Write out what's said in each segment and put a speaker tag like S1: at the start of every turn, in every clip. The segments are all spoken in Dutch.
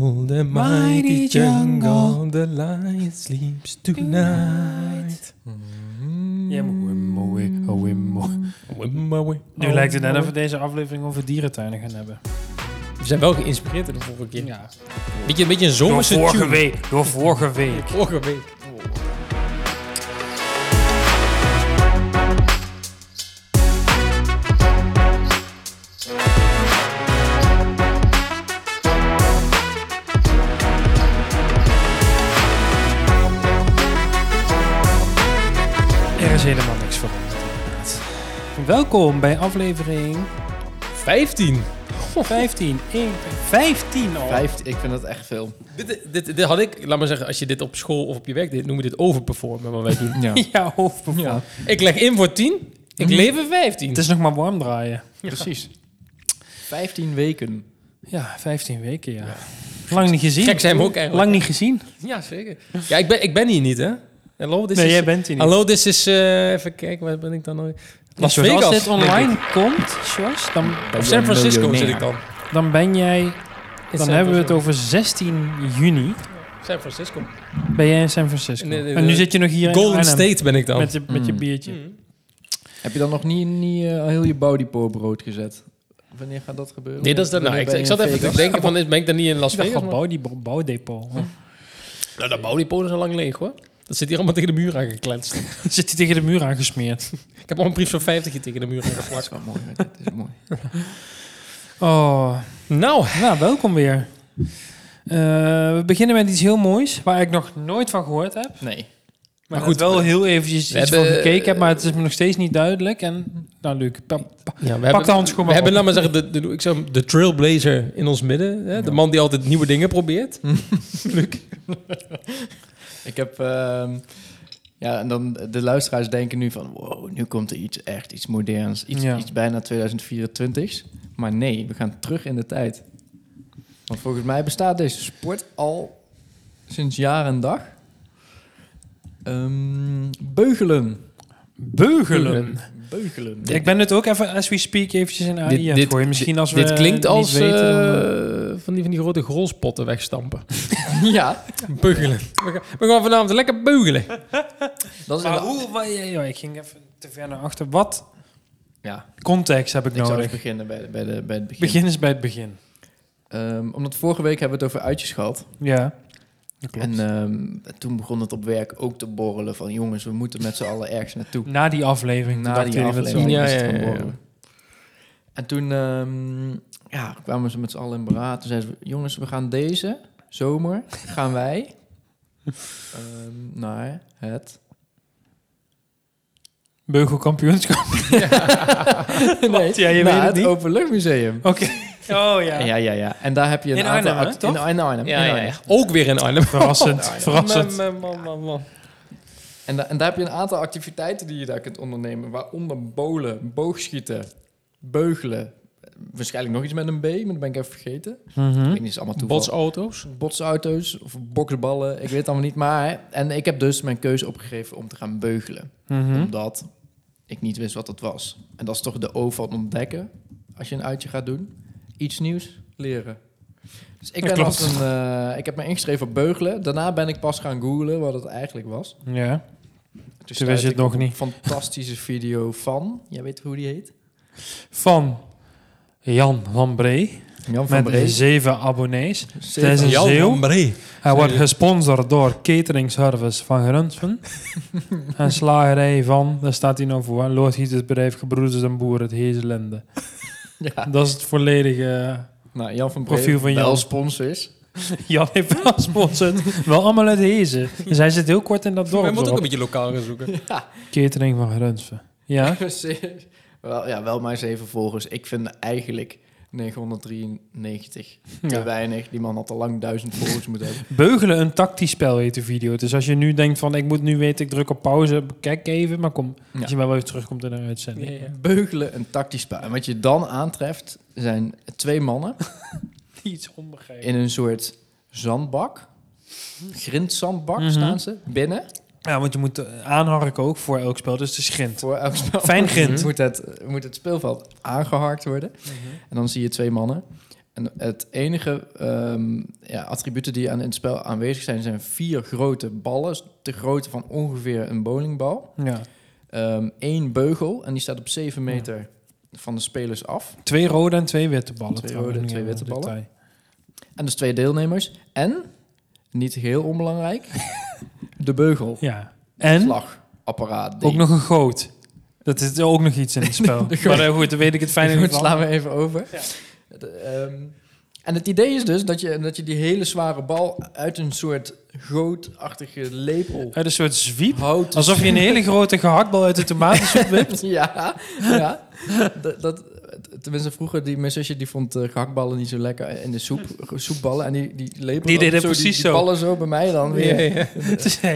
S1: Oh, the mighty jungle, the lion sleeps tonight.
S2: Ja, maar wimmoe, oh, wimmoe.
S1: Wimbowie.
S2: Nu lijkt het net of we deze aflevering over dierentuinen gaan hebben.
S1: We zijn wel geïnspireerd door de vorige keer.
S2: Ja.
S1: Beetje, een beetje een
S2: Door
S1: zomerse
S2: vorige
S1: tune.
S2: week. Door vorige week.
S1: Vorige week.
S2: Er is helemaal niks veranderd inderdaad. Welkom bij aflevering
S1: 15.
S2: 15. Eén- 15 al.
S3: Vijf, ik vind dat echt veel.
S1: Dit, dit, dit had ik, laat maar zeggen, als je dit op school of op je werk deed, noemen we dit overperformen, wat wij doen.
S3: Ja.
S2: Ja, hoofdbevoer.
S3: Ja.
S1: ik leg in voor 10, ik
S2: Mhm.
S1: lever 15.
S2: Het is nog maar warm draaien.
S3: Precies. Vijftien weken.
S2: Ja, 15 weken, ja. Lang niet gezien.
S1: Gek zijn we ook eigenlijk.
S2: Lang niet gezien.
S1: Ja, zeker. Ja, ik ben, ik ben hier niet, hè? Hallo, dit
S2: nee,
S1: is... dus
S2: jij bent hier niet.
S1: Hallo, dit is... eh, even kijken, waar ben ik dan nog? Las
S2: Jos,
S1: Vegas.
S2: Als dit online komt, Sjors, dan,
S1: Op San Francisco zit ik dan.
S2: dan ben jij...
S1: In
S2: Dan
S1: San
S2: hebben we het
S1: Francisco.
S2: over 16 juni.
S1: San Francisco.
S2: Ben jij in San Francisco.
S1: Nee, nee,
S2: en nu
S1: nee.
S2: zit je nog hier in
S1: Golden
S2: Arnhem
S1: State ben ik dan.
S2: Met je, met
S1: Hmm.
S2: je
S3: Mm.
S1: Hm.
S2: biertje.
S3: Heb je dan nog niet, niet eh, heel je body po brood gezet? Wanneer gaat dat gebeuren?
S1: Nee, dat is dan... Nou,
S3: Wanneer
S1: ik,
S3: ben
S1: ik
S3: je
S1: zat
S3: in
S1: even te
S3: Vegas?
S1: denken van, ben ik dan niet in Las
S2: Ik dacht
S1: Vegas?
S2: al
S1: maar-
S2: bouw, die bou- bouwdepot.
S1: Nou, dat bouwdepot is al lang leeg, hoor. Dat zit hier allemaal tegen de muur aangekletst.
S2: Zit hij tegen de muur aangesmeerd.
S1: ik heb al een brief van 50 hier tegen de muur
S3: Dat
S1: aangeplakt.
S3: is wel mooi. hè. Dat is mooi.
S2: Oh,
S1: nou,
S2: nou, welkom weer. Eh, we beginnen met iets heel moois, waar ik nog nooit van gehoord heb.
S3: Nee.
S2: Maar
S1: goed,
S2: goed, wel heel eventjes
S1: we
S2: iets van
S1: hebben-
S2: gekeken heb, maar het is me nog steeds niet duidelijk. En, nou Luc, pa- pa-
S1: ja, we
S2: pak de
S1: hebben...
S2: handschoen
S1: We
S2: maar
S1: hebben,
S2: op.
S1: laat maar zeggen, de, de, ik zou hem de trailblazer in ons midden. Hè? De
S3: Ja.
S1: man die altijd nieuwe dingen probeert.
S3: Ik heb... ehm, ja, en dan de luisteraars denken nu van... Wow, nu komt er iets echt, iets moderns. Iets,
S2: Ja.
S3: iets bijna 2024's. Maar nee, we gaan terug in de tijd. Want volgens mij bestaat deze sport al sinds jaar en dag. Ehm, beugelen.
S2: Beugelen.
S3: Beugelen.
S2: Ik ben het ook even, as we speak, eventjes in AI
S1: Dit-
S2: aan
S1: dit-
S2: het gooien. Misschien als we
S1: Dit klinkt
S2: niet
S1: als
S2: weten, dan, eh,
S1: eh, van, die, van die grote grolspotten wegstampen.
S3: ja,
S1: Beugelen. We gaan, we gaan vanavond lekker beugelen.
S3: dat is
S2: Maar
S3: inderdaad-
S2: hoe... wa- ja, ja, ik ging even te ver naar achter. Wat
S3: Ja,
S2: context heb ik,
S3: ik zou
S2: nodig?
S3: eens beginnen bij, de, bij, de, bij het begin.
S2: Begin is bij het begin.
S3: Ehm, omdat vorige week hebben we het over uitjes gehad.
S2: Ja. Dat
S3: En ehm, toen begon het op werk ook te borrelen van... jongens, we moeten met z'n allen ergens naartoe.
S2: na die aflevering. toen
S3: Na
S2: dachten
S3: die
S2: jullie dat
S3: aflevering
S1: zo.
S3: is het
S1: Ja, ja,
S3: gaan
S1: ja, ja.
S3: borrelen. En toen ehm, ja, kwamen ze met z'n allen in beraad. Toen zeiden ze, jongens, we gaan deze zomer... gaan wij ehm, naar het...
S2: zo- Beugelkampioenschap.
S3: nee,
S2: ja, je
S3: naar
S2: weet het
S3: het
S2: niet.
S3: Openluchtmuseum.
S2: Oké. Oh ja.
S3: Ja, ja, ja. En daar heb je een
S2: In
S3: aantal...
S2: Arnhem, hè,
S3: act-
S2: toch?
S3: In, in Arnhem. in Arnhem.
S1: Ook weer in Arnhem. Oh,
S2: Verrassend. verrassend.
S1: Man, man, man, man.
S3: En, da- en daar heb je een aantal activiteiten die je daar kunt ondernemen. Waaronder bolen, boogschieten, beugelen. Waarschijnlijk nog iets met een B, maar dat ben ik even vergeten.
S2: Hm?
S3: Ik
S2: Mhm,
S3: weet niet, het is allemaal toeval.
S1: Botsauto's.
S3: Botsauto's of boksballen, ik weet het allemaal niet. Maar, en ik heb dus mijn keuze opgegeven om te gaan beugelen.
S2: Mhm.
S3: Omdat ik niet wist wat dat was. En dat is toch de O van ontdekken. Als je een uitje gaat doen. Iets nieuws leren. Dus ik,
S2: Dat
S3: ben
S2: klopt.
S3: als een, eh, ik heb me ingeschreven op beugelen. Daarna ben ik pas gaan googlen wat het eigenlijk was.
S2: Ja.
S3: Toen
S2: Toen wist je
S3: stuitte
S2: het
S3: ik
S2: nog
S3: op een
S2: niet.
S3: Fantastische video van, jij weet hoe die heet?
S2: Van Jan van Bree.
S3: Jan van
S2: Met
S3: Brees.
S2: zeven abonnees. is een
S1: Jan
S2: Zeeuw.
S1: van Bree.
S2: Hij wordt gesponsord door Catering Service van Grunsven. en slagerij van, daar staat hij nou voor, loodgietersbedrijf Gebroeders en Boer het Hezelende.
S3: Ja.
S2: Dat is het volledige... eh,
S3: Nou, Jan van Brees,
S2: Profiel van
S3: wel
S2: Jan.
S3: sponsors.
S2: Jan heeft wel gesponsord. wel allemaal uit Hezen. Dus hij zit heel kort in dat
S1: Wij
S2: dorp.
S1: moeten ook een
S2: Ook...
S1: beetje lokaal gaan zoeken.
S2: Catering van Grunsven. Ja?
S3: Serieus. wel, ja, wel maar zeven volgers. Ik vind eigenlijk 993 te
S2: ja.
S3: weinig. Die man had al lang duizend volgers moeten hebben.
S2: Beugelen een tactisch spel heet de video. Dus als je nu denkt van, ik moet nu weten, ik druk op pauze, kijk even. Maar kom,
S3: Ja.
S2: als je maar wel even terugkomt in de uitzending.
S3: Beugelen een tactisch spel. En wat je dan aantreft zijn twee mannen
S2: Iets onbegrijpelijk.
S3: in een soort zandbak. Grindzandbak
S2: Mhm.
S3: staan ze binnen.
S2: Ja, want je moet eh, aanharken ook voor elk spel. Dus het is grind.
S3: Voor elk spel.
S2: Fijn grind. Mhm.
S3: moet, het, moet het speelveld aangeharkt worden. En dan zie je twee mannen. En het enige ehm, ja, attributen die aan, in het spel aanwezig zijn, zijn vier grote ballen. Dus De grootte van ongeveer een bowlingbal.
S2: Ja.
S3: Eén beugel en die staat op 7 meter van de spelers af.
S2: Twee rode en twee witte ballen.
S3: Twee
S2: trouwens,
S3: rode en
S2: nog
S3: twee
S2: even
S3: witte
S2: een
S3: ballen.
S2: detail.
S3: En dus twee deelnemers. En, niet heel onbelangrijk, de beugel.
S2: Ja. En
S3: Slagapparaat. die-
S2: ook nog een goot. Dat is ook nog iets in het spel. maar eh, goed, dan weet ik het fijn in ieder
S3: Goed,
S2: geval.
S3: slaan we even over. De, ehm, en het idee is dus dat je, dat je die hele zware bal uit een soort gootachtige lepel
S2: Uit een soort zwiep.
S3: houdt.
S2: Alsof je een hele grote gehaktbal uit de tomatensoep wipt.
S3: ja, ja. Dat, dat, tenminste, vroeger, die, mijn zusje die vond eh, gehaktballen niet zo lekker in de soep, soepballen. En die, die lepel
S2: Die deden
S3: zo,
S2: precies
S3: die,
S2: zo.
S3: die ballen zo bij mij dan weer.
S2: Nee,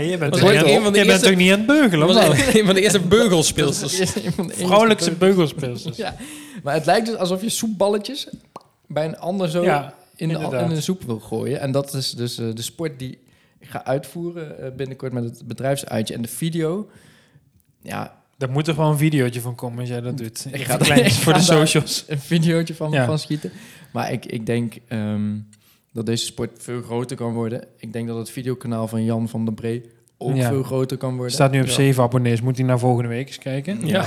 S2: je bent,
S1: Was
S2: toch niet,
S1: ooit een
S2: aan,
S1: van de
S2: je bent
S1: eerste-
S2: toch niet aan het beugelen?
S1: Dat
S2: of
S1: was
S2: wel?
S1: een van de eerste beugelspeelsters.
S3: Dat is een van de eerste
S2: Vrouwelijkse beugelspeelsters.
S3: Ja, maar het lijkt dus alsof je soepballetjes bij een ander zo
S2: Ja,
S3: in, de,
S2: inderdaad.
S3: in de soep wil gooien. En dat is dus eh, de sport die ik ga uitvoeren eh, binnenkort met het bedrijfsuitje. En de video, ja,
S2: Daar moet toch wel een videootje van komen als jij dat doet.
S3: Ik
S2: Ik
S3: ga-
S2: ga klein
S3: ik
S2: voor de
S3: ga daar-
S2: socials.
S3: een videootje van,
S2: Ja.
S3: van schieten. Maar ik, ik denk ehm, dat deze sport veel groter kan worden. Ik denk dat het videokanaal van Jan van der Bree ook
S2: Ja.
S3: veel groter kan worden.
S2: Staat nu op
S1: Ja.
S2: 7 abonnees. Moet hij naar volgende week eens kijken?
S1: Ja.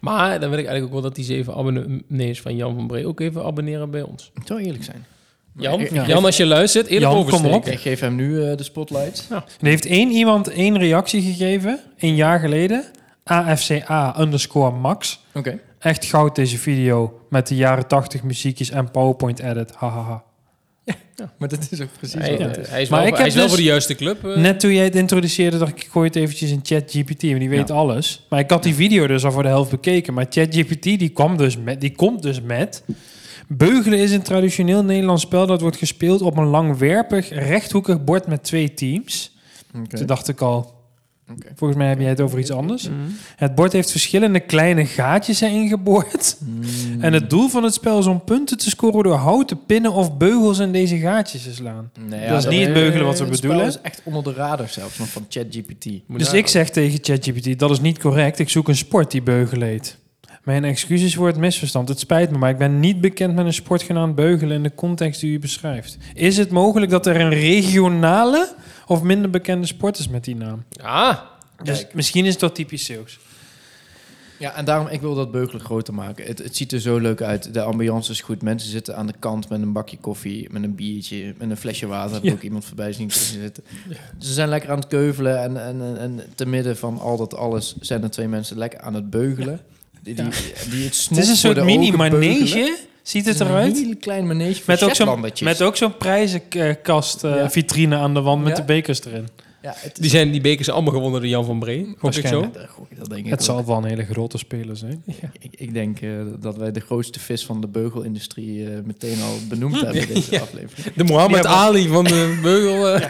S1: Maar dan wil ik eigenlijk ook wel dat die zeven abonnees van Jan van Bree ook even abonneren bij ons.
S3: Het zou eerlijk zijn.
S1: Jan,
S3: Ik-
S2: Ja.
S1: Jan als je luistert, eerlijk
S2: Jan, kom
S1: oversteken.
S2: op.
S3: Ik geef hem nu eh, de spotlight.
S2: Er heeft één iemand één reactie gegeven, een jaar geleden. AFCA underscore Max.
S3: Oké.
S2: Echt goud deze video met de jaren 80 muziekjes en PowerPoint edit. Hahaha.
S3: Maar dat is ook precies
S1: Hij,
S3: wat het is.
S1: hij is
S2: Maar
S1: wel,
S2: ik
S1: hij
S2: heb
S1: is wel
S2: dus-
S1: voor de juiste club. eh.
S2: Net toen jij het introduceerde, dacht ik, ik gooi het eventjes in ChatGPT, want die weet alles. Maar ik had die video dus al voor de helft bekeken. Maar ChatGPT die, kwam dus met- die komt dus met... Beugelen is een traditioneel Nederlands spel dat wordt gespeeld op een langwerpig rechthoekig bord met twee teams.
S3: Oké.
S2: Toen dacht ik al,
S3: Oké.
S2: volgens mij heb jij het over iets anders.
S1: Mhm.
S2: Het bord heeft verschillende kleine gaatjes erin geboord.
S3: Mm.
S2: En het doel van het spel is om punten te scoren door houten pinnen of beugels in deze gaatjes te slaan.
S3: Nee,
S2: Dat is niet het beugelen wat we
S3: het
S2: bedoelen.
S3: spel is echt onder de radar zelfs nog van ChatGPT.
S1: Moet
S2: Dus
S1: daar-
S2: ik zeg tegen ChatGPT, dat is niet correct. Ik zoek een sport die beugelen heet. Mijn excuses voor het misverstand. Het spijt me, maar ik ben niet bekend met een sport genaamd beugelen in de context die u beschrijft. Is het mogelijk dat er een regionale of minder bekende sport is met die naam?
S1: Ah,
S2: Dus
S3: Kijk.
S2: misschien is dat typisch Zeeuws.
S3: Ja, en daarom, ik wil dat beugelen groter maken. Het, het ziet er zo leuk uit. De ambiance is goed. Mensen zitten aan de kant met een bakje koffie, met een biertje, met een flesje water. Heb ik
S2: Ja.
S3: ook iemand voorbij zien zitten. Ze zijn lekker aan het keuvelen. En, en, en, en te midden van al dat alles zijn er twee mensen lekker aan het beugelen. Die, die, die het,
S2: Het is een soort
S3: Ziet
S2: mini-manege, ziet het
S3: Een
S2: eruit?
S3: hele klein manege
S2: Met ook,
S3: zo'n...
S2: zo'n, met ook zo'n prijzenkast eh,
S3: Ja.
S2: vitrine aan de wand met
S3: Ja.
S2: de bekers erin.
S3: Ja, het
S1: die,
S3: is...
S1: zijn, die bekers zijn allemaal gewonnen door Jan van Bree. Gok ik zo.
S2: Waarschijnlijk.
S3: Ja, dat denk ik
S2: Het
S3: ook.
S2: zal wel een hele grote speler zijn.
S3: Ik, ik denk eh, dat wij de grootste vis van de beugelindustrie eh, meteen al benoemd hebben in deze aflevering.
S1: De Mohammed
S2: Die hebben-
S1: Ali van de beugel. eh.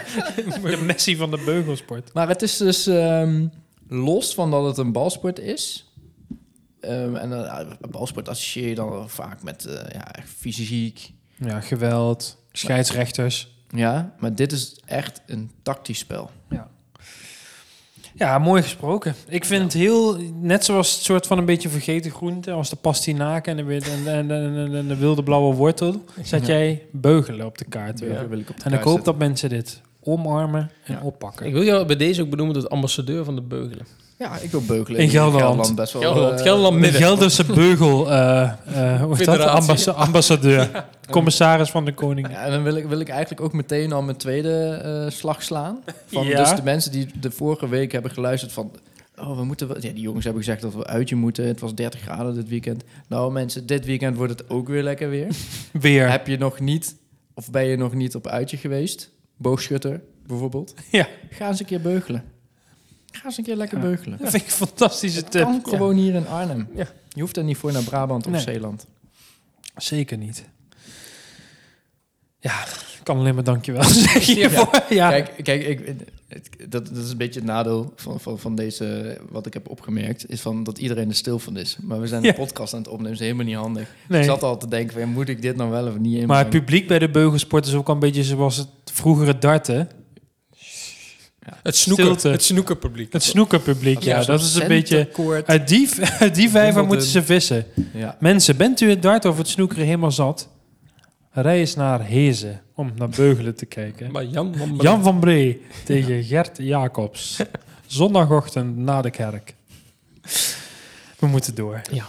S2: De Messi van de beugelsport.
S3: Maar het is dus ehm, los van dat het een balsport is. ehm, en eh, balsport associeer je dan vaak met eh, ja, echt fysiek.
S2: Ja, geweld, scheidsrechters.
S3: Ja, maar dit is echt een tactisch spel.
S2: Ja, mooi gesproken. Ik vind het heel, net zoals het soort van een beetje vergeten groente, als de pastinaak en de, wit- en, en, en, en- en de wilde blauwe wortel, zet jij beugelen op de kaart. weer.
S3: Burger wil ik op de
S2: En ik
S3: kaart
S2: hoop
S3: zetten.
S2: dat mensen dit omarmen en
S3: Ja.
S2: oppakken.
S1: Ik wil jou bij deze ook benoemen tot ambassadeur van de beugelen.
S3: Ja, ik wil beugelen.
S2: In
S3: Ik vind
S2: Gelderland.
S3: best wel,
S1: Gelderland,
S3: eh,
S1: Gelderland
S2: De
S1: midden.
S2: Gelderse beugel, eh, eh, hoe is dat?
S1: Federatie.
S2: Ambassa- ambassadeur, commissaris van de koning.
S3: Ja, en dan wil ik, wil ik eigenlijk ook meteen al mijn tweede eh, slag slaan. Van
S2: Ja.
S3: Dus de mensen die de vorige week hebben geluisterd van... Oh, we moeten... wel- Ja, die jongens hebben gezegd dat we uitje moeten. Het was 30 graden dit weekend. Nou mensen, dit weekend wordt het ook weer lekker weer.
S2: Weer.
S3: Heb je nog niet... Of ben je nog niet op uitje geweest? Boogschutter bijvoorbeeld.
S2: Ja.
S3: Ga eens een keer beugelen. Ga eens een keer lekker
S2: Ja.
S3: beugelen.
S2: Dat vind ik een fantastische tip.
S3: Kan gewoon hier in Arnhem.
S1: Ja.
S3: Je hoeft er niet voor naar Brabant of
S2: Nee.
S3: Zeeland.
S2: Zeker niet. Ja, ik kan alleen maar dankjewel zeggen hiervoor. Ja.
S3: Kijk, kijk ik, het- dat, dat is een beetje het nadeel van, van, van deze, wat ik heb opgemerkt, is van dat iedereen er stil van is. Maar we zijn
S2: Ja.
S3: de podcast aan het opnemen, is helemaal niet handig.
S2: nee.
S3: Ik zat al te denken, van, moet ik dit nou wel of niet in?
S2: Maar het publiek bij de beugelsport is ook al een beetje zoals het vroegere darten.
S1: Het, snoeken,
S2: Stilte.
S1: het snoekenpubliek.
S2: Het snoekenpubliek, ja. Dat is een beetje... Uit die, uit die vijver moeten ze vissen.
S3: Ja,
S2: Mensen, bent u het darten of het snoekeren helemaal zat? reis naar Hezen om naar Beugelen te kijken.
S1: Maar Jan van Bree-
S2: Jan van Bree tegen Gert Jacobs. Zondagochtend na de kerk. We moeten door.
S1: Ik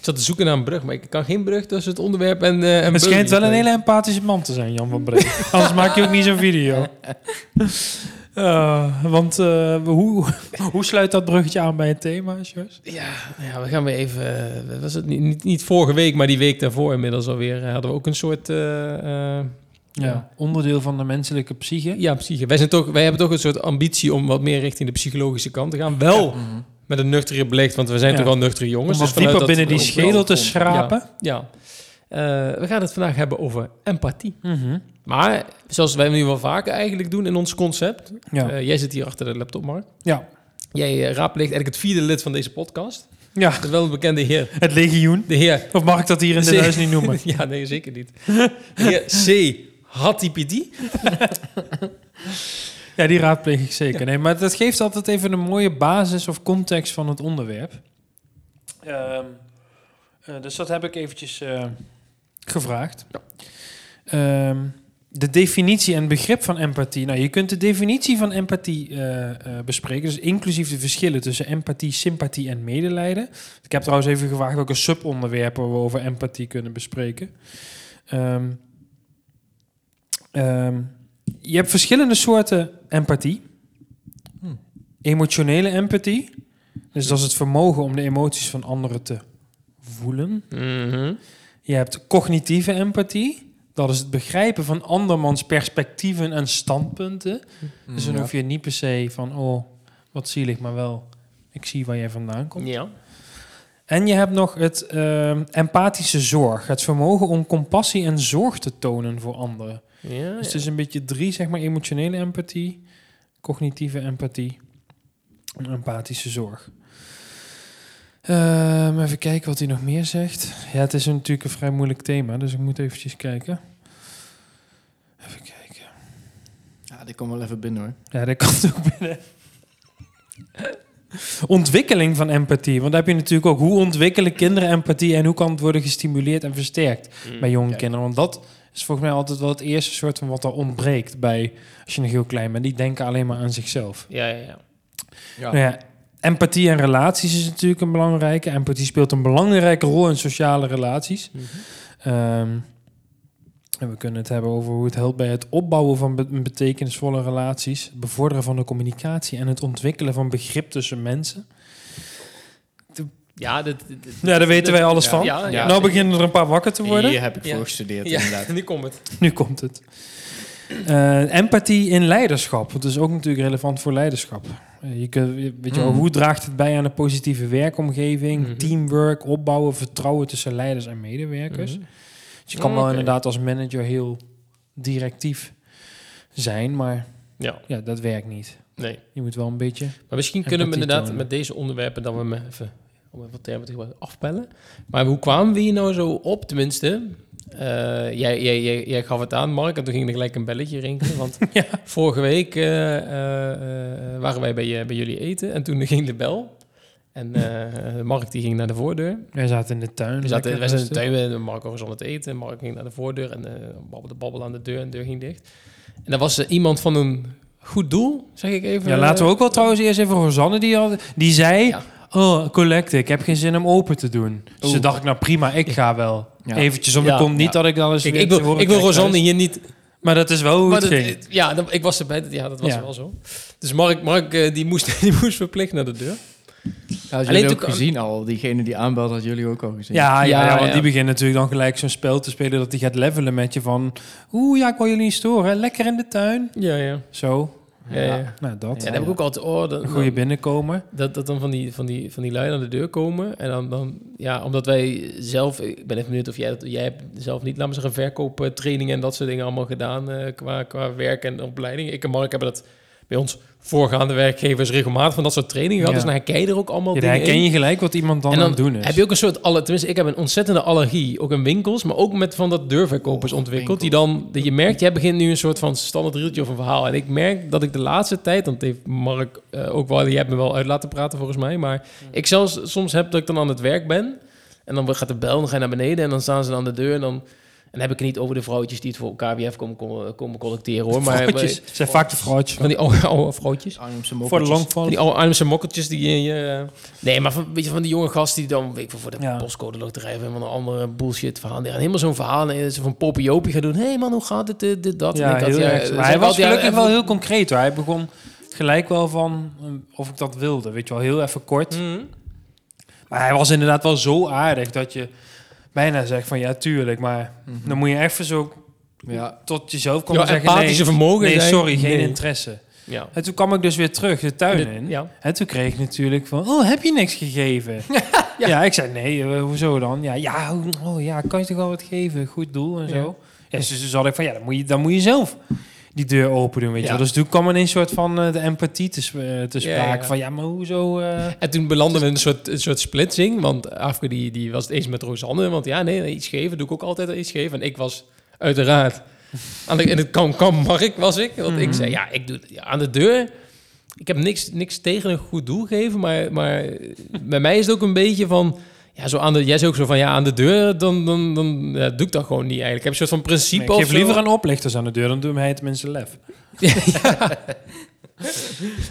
S1: zat te zoeken naar een brug, maar ik kan geen brug tussen het onderwerp en eh en
S2: Het schijnt wel
S1: Beugelen
S2: een
S1: vinden.
S2: hele empathische man te zijn, Jan van Bree. Anders maak je ook niet zo'n video. Eh, want eh, hoe, hoe sluit dat bruggetje aan bij het thema, Jos?
S1: Ja, ja, we gaan weer even... eh, wat was het niet, niet, niet vorige week, maar die week daarvoor inmiddels alweer... eh, hadden we ook een soort... eh, eh,
S2: Ja, onderdeel van de menselijke psyche.
S1: ja, psyche. Wij, zijn toch, wij hebben toch een soort ambitie om wat meer richting de psychologische kant te gaan. Wel
S3: Mhm.
S1: met een nuchtere blik, want we zijn
S2: Ja.
S1: toch wel nuchtere jongens. dus
S2: Om wat
S1: vanuit
S2: dieper
S1: dat-
S2: binnen die
S1: ook wel-
S2: schedel te
S3: komt.
S2: schrapen.
S1: Ja. Eh, we gaan het vandaag hebben over empathie.
S2: Mhm.
S1: Maar zoals wij nu wel vaker eigenlijk doen in ons concept.
S2: Ja.
S1: eh, jij zit hier achter de laptop, Mark.
S2: ja.
S1: Jij eh, raadpleegt eigenlijk het vierde lid van deze podcast.
S2: ja,
S1: De welbekende heer.
S2: het legioen.
S1: De heer.
S2: Of mag ik dat hier in dit
S1: Zeker.
S2: huis niet noemen?
S1: ja, nee, zeker niet. De heer C. Hattipidi.
S2: Ja, die raadpleeg ik zeker. Nee, maar dat geeft altijd even een mooie basis of context van het onderwerp. Ehm, eh, dus dat heb ik eventjes eh, gevraagd. Ehm, de definitie en begrip van empathie. Nou, je kunt de definitie van empathie eh, eh, bespreken. Dus inclusief de verschillen tussen empathie, sympathie en medelijden. Ik heb trouwens even gevraagd welke subonderwerpen we over empathie kunnen bespreken. Ehm, ehm, je hebt verschillende soorten empathie.
S3: Hm.
S2: Emotionele empathie. Dus dat is het vermogen om de emoties van anderen te voelen.
S1: Mhm.
S2: Je hebt cognitieve empathie. Dat is het begrijpen van andermans perspectieven en standpunten. Dus dan
S3: Hm. Ja.
S2: hoef je niet per se van, oh, wat zielig, maar wel, ik zie waar jij vandaan komt.
S1: Ja.
S2: En je hebt nog het ehm, empathische zorg. Het vermogen om compassie en zorg te tonen voor anderen.
S1: Oh, ja.
S2: Dus het is een beetje drie, zeg maar, emotionele empathie, cognitieve empathie en empathische zorg. Ehm, even kijken wat hij nog meer zegt. Ja, het is een- natuurlijk een vrij moeilijk thema, dus ik moet eventjes kijken. Even kijken.
S3: Ja, die komt wel even binnen hoor.
S2: Ja, dat kan ook binnen. Ontwikkeling van empathie. Want daar heb je natuurlijk ook hoe ontwikkelen kinderen empathie en hoe kan het worden gestimuleerd en versterkt
S1: Mm, Mhm.
S2: bij jonge kinderen. Want dat is volgens mij altijd wel het eerste soort van wat er ontbreekt bij als je nog heel klein bent. Die denken alleen maar aan zichzelf.
S1: Ja, ja, ja.
S3: Ja.
S2: Nou ja, empathie en relaties is natuurlijk een belangrijke. Empathie speelt een belangrijke rol in sociale relaties.
S1: Mhm.
S2: Ehm, en we kunnen het hebben over hoe het helpt bij het opbouwen van be- betekenisvolle relaties, het bevorderen van de communicatie en het ontwikkelen van begrip tussen mensen.
S1: Ja, dit, dit- dit-
S2: Ja, daar weten wij alles
S1: Ja,
S2: van.
S1: Ja, ja.
S2: nou beginnen er een paar wakker te worden.
S3: Hier heb ik
S1: Ja.
S3: voor gestudeerd
S1: Ja,
S2: Nou.
S3: inderdaad.
S1: nu komt het.
S2: Nu komt het. Eh, empathie in leiderschap. Dat is ook natuurlijk relevant voor leiderschap. Eh, je kunt, je- weet je wel,
S1: Mm.
S3: Mhm.
S2: hoe draagt het bij aan een positieve werkomgeving,
S1: Mhm.
S2: teamwork, opbouwen, vertrouwen tussen leiders en medewerkers?
S1: Mhm.
S2: Dus je kan wel
S1: Oké.
S2: inderdaad als manager heel directief zijn, maar
S1: Ja,
S2: ja, dat werkt niet.
S1: nee.
S2: Je moet wel een beetje.
S1: Maar misschien kunnen we
S2: Empathie
S1: inderdaad
S2: tonen.
S1: met deze onderwerpen dan weer even, om even wat termen te gebruiken, afpellen. Maar hoe kwamen we hier nou zo op? Tenminste, eh, jij, jij, jij, jij gaf het aan, Mark, en toen ging er gelijk een belletje rinkelen. Want
S2: Ja.
S1: vorige week eh, eh, eh, waren wij bij, je- bij jullie eten en toen ging de bel. En eh, Mark die ging naar de voordeur.
S2: Wij zaten in de tuin.
S1: We zaten,
S2: lekker
S1: wij zaten in de
S2: rustig.
S1: tuin, en Marco was aan het eten. Mark ging naar de voordeur en eh babbelde babbel aan de deur en de deur ging dicht. En daar was eh, iemand van een goed doel, zeg ik even.
S2: Ja, laten we ook wel trouwens eerst even Rosanne die, had, die zei...
S1: Eh, Ja.
S2: Oh, collecte, ik heb geen zin om open te doen. Dus
S1: Oeh.
S2: toen dacht ik, nou prima, ik ga wel.
S3: Ja.
S2: Eventjes, om
S1: Ja,
S2: de komt niet dat ik dan eens
S1: Kijk,
S2: weer
S1: ik
S2: te
S1: wil,
S2: horen
S1: ik wil
S2: krijg
S1: Rosanne
S2: thuis.
S1: hier niet...
S2: Maar dat is wel hoe
S1: Maar
S2: het
S1: dat,
S2: ging.
S1: eh, ja, dat- ik was erbij. dat- Ja, dat was
S2: Ja.
S1: wel zo. Dus Mark, Mark eh, die, moest, die moest verplicht naar de deur.
S3: Ja,
S1: Alleen
S3: jullie ook
S1: toen-
S3: gezien al. Diegene die aanbelde had jullie ook al gezien.
S2: ja, ja, ja,
S1: Ja,
S2: want
S1: ja.
S2: die begint natuurlijk dan gelijk zo'n spel te spelen... dat die gaat levelen met je van... Oeh, ja, ik wil jullie niet storen. Lekker in de tuin.
S1: Ja, ja.
S2: Zo,
S1: Ja, ja. ja.
S2: nou dat.
S1: dan heb ik ook altijd... Oh,
S2: Een
S1: dan,
S2: goede binnenkomen.
S1: dat, dat dan van die, van, die, van die lui aan de deur komen. En dan, dan, ja, omdat wij zelf... Ik ben even benieuwd of jij... dat- Jij hebt zelf niet, laten we zeggen, verkooptrainingen en dat soort dingen allemaal gedaan eh, qua, qua werk en opleiding. Ik en Mark hebben dat bij ons voorgaande werkgevers regelmatig van dat soort trainingen gehad.
S2: Ja.
S1: Dus dan herken je er ook allemaal
S2: Ja, dan
S1: dingen in.
S2: herken je gelijk wat iemand dan,
S1: en
S2: aan het
S1: dan
S2: doen is.
S1: heb je ook een soort, alle, tenminste, ik heb een ontzettende allergie, ook in winkels, maar ook met van dat deurverkopers
S3: Oh,
S1: ontwikkeld, die dan, dat je merkt, jij begint nu een soort van standaard rieltje of een verhaal. En ik merk dat ik de laatste tijd, want heeft Mark eh, ook wel, die hebt me wel uit laten praten volgens mij, maar ik zelfs soms heb dat ik dan aan het werk ben en dan gaat de bel, dan ga je naar beneden en dan staan ze aan de deur en dan En dan heb ik het niet over de vrouwtjes die het voor KWF komen, komen, eh, komen collecteren hoor. Maar
S2: Vrouwtjes. Het zijn vaak de vrouwtjes.
S1: van die oude, oude vrouwtjes.
S3: Arnhemse
S2: Voor de
S3: mokkeltjes.
S1: Van
S2: longval.
S1: die oude Arnhemse mokkeltjes die je... eh, nee, maar van, weet je, van die jonge gast die dan... Weet ik veel, voor de
S2: Ja.
S1: postcode loterij of helemaal een andere bullshit verhaal. Die gaan helemaal zo'n verhaal en ze van Poppy Jopie gaan doen. Hé hey man, hoe gaat het? Dit, dit, dat. En
S2: Ja,
S1: ik eh, dacht,
S2: heel erg.
S1: dat
S2: Maar
S1: is
S2: hij
S1: ook
S2: was
S1: altijd-
S2: gelukkig wel
S1: even-
S2: heel concreet. Hoor. Hij begon gelijk wel van hm, of ik dat wilde. Weet je wel, heel even kort.
S1: Mhm.
S2: Maar hij was inderdaad wel zo aardig dat je bijna zegt van ja, tuurlijk. Maar
S3: Mhm.
S2: dan moet je even zo
S3: Ja,
S2: tot jezelf
S1: Ja,
S2: komen zeggen
S1: empathische
S2: nee,
S1: vermogen.
S2: nee,
S1: zei-
S2: sorry, geen
S1: Nee.
S2: interesse.
S1: Ja.
S2: En toen kwam ik dus weer terug de tuin
S1: Dit-
S2: in.
S1: Ja.
S2: En toen kreeg ik natuurlijk van, oh, heb je niks gegeven? ja. ik zei, nee, eh, hoezo dan? Ja, ja, oh, oh, ja, kan je toch wel wat geven? Goed doel en zo. Ja, dus toen zat ik van, ja, dan moet je, dan moet je zelf die deur open doen, weet
S1: Ja.
S2: je wel. Dus toen kwam er een soort van eh, de empathie te, sp- eh,
S1: Ja,
S2: te sprake.
S1: ja.
S2: Van, ja, maar hoezo? eh?
S1: En toen belanden we in een soort, een soort splitsing. Want Afke die, die was het eens met Rosanne. Want ja, nee, iets geven doe ik ook altijd iets geven. En ik was uiteraard aan de, in het kam-kam-mark was ik. Want ik
S2: Mhm.
S1: zei, ja, ik doe ja, aan de deur. Ik heb niks, niks tegen een goed doel geven. Maar, maar bij mij is het ook een beetje van... Ja, zo aan de, jij zei ook zo van, ja, aan de deur, dan, dan, dan ja, doe ik dat gewoon niet eigenlijk. Ik heb een soort van principe
S2: Nee, ik
S1: of
S2: geef
S1: zo.
S2: liever aan oplichters aan de deur, dan doen hij het mensen lef.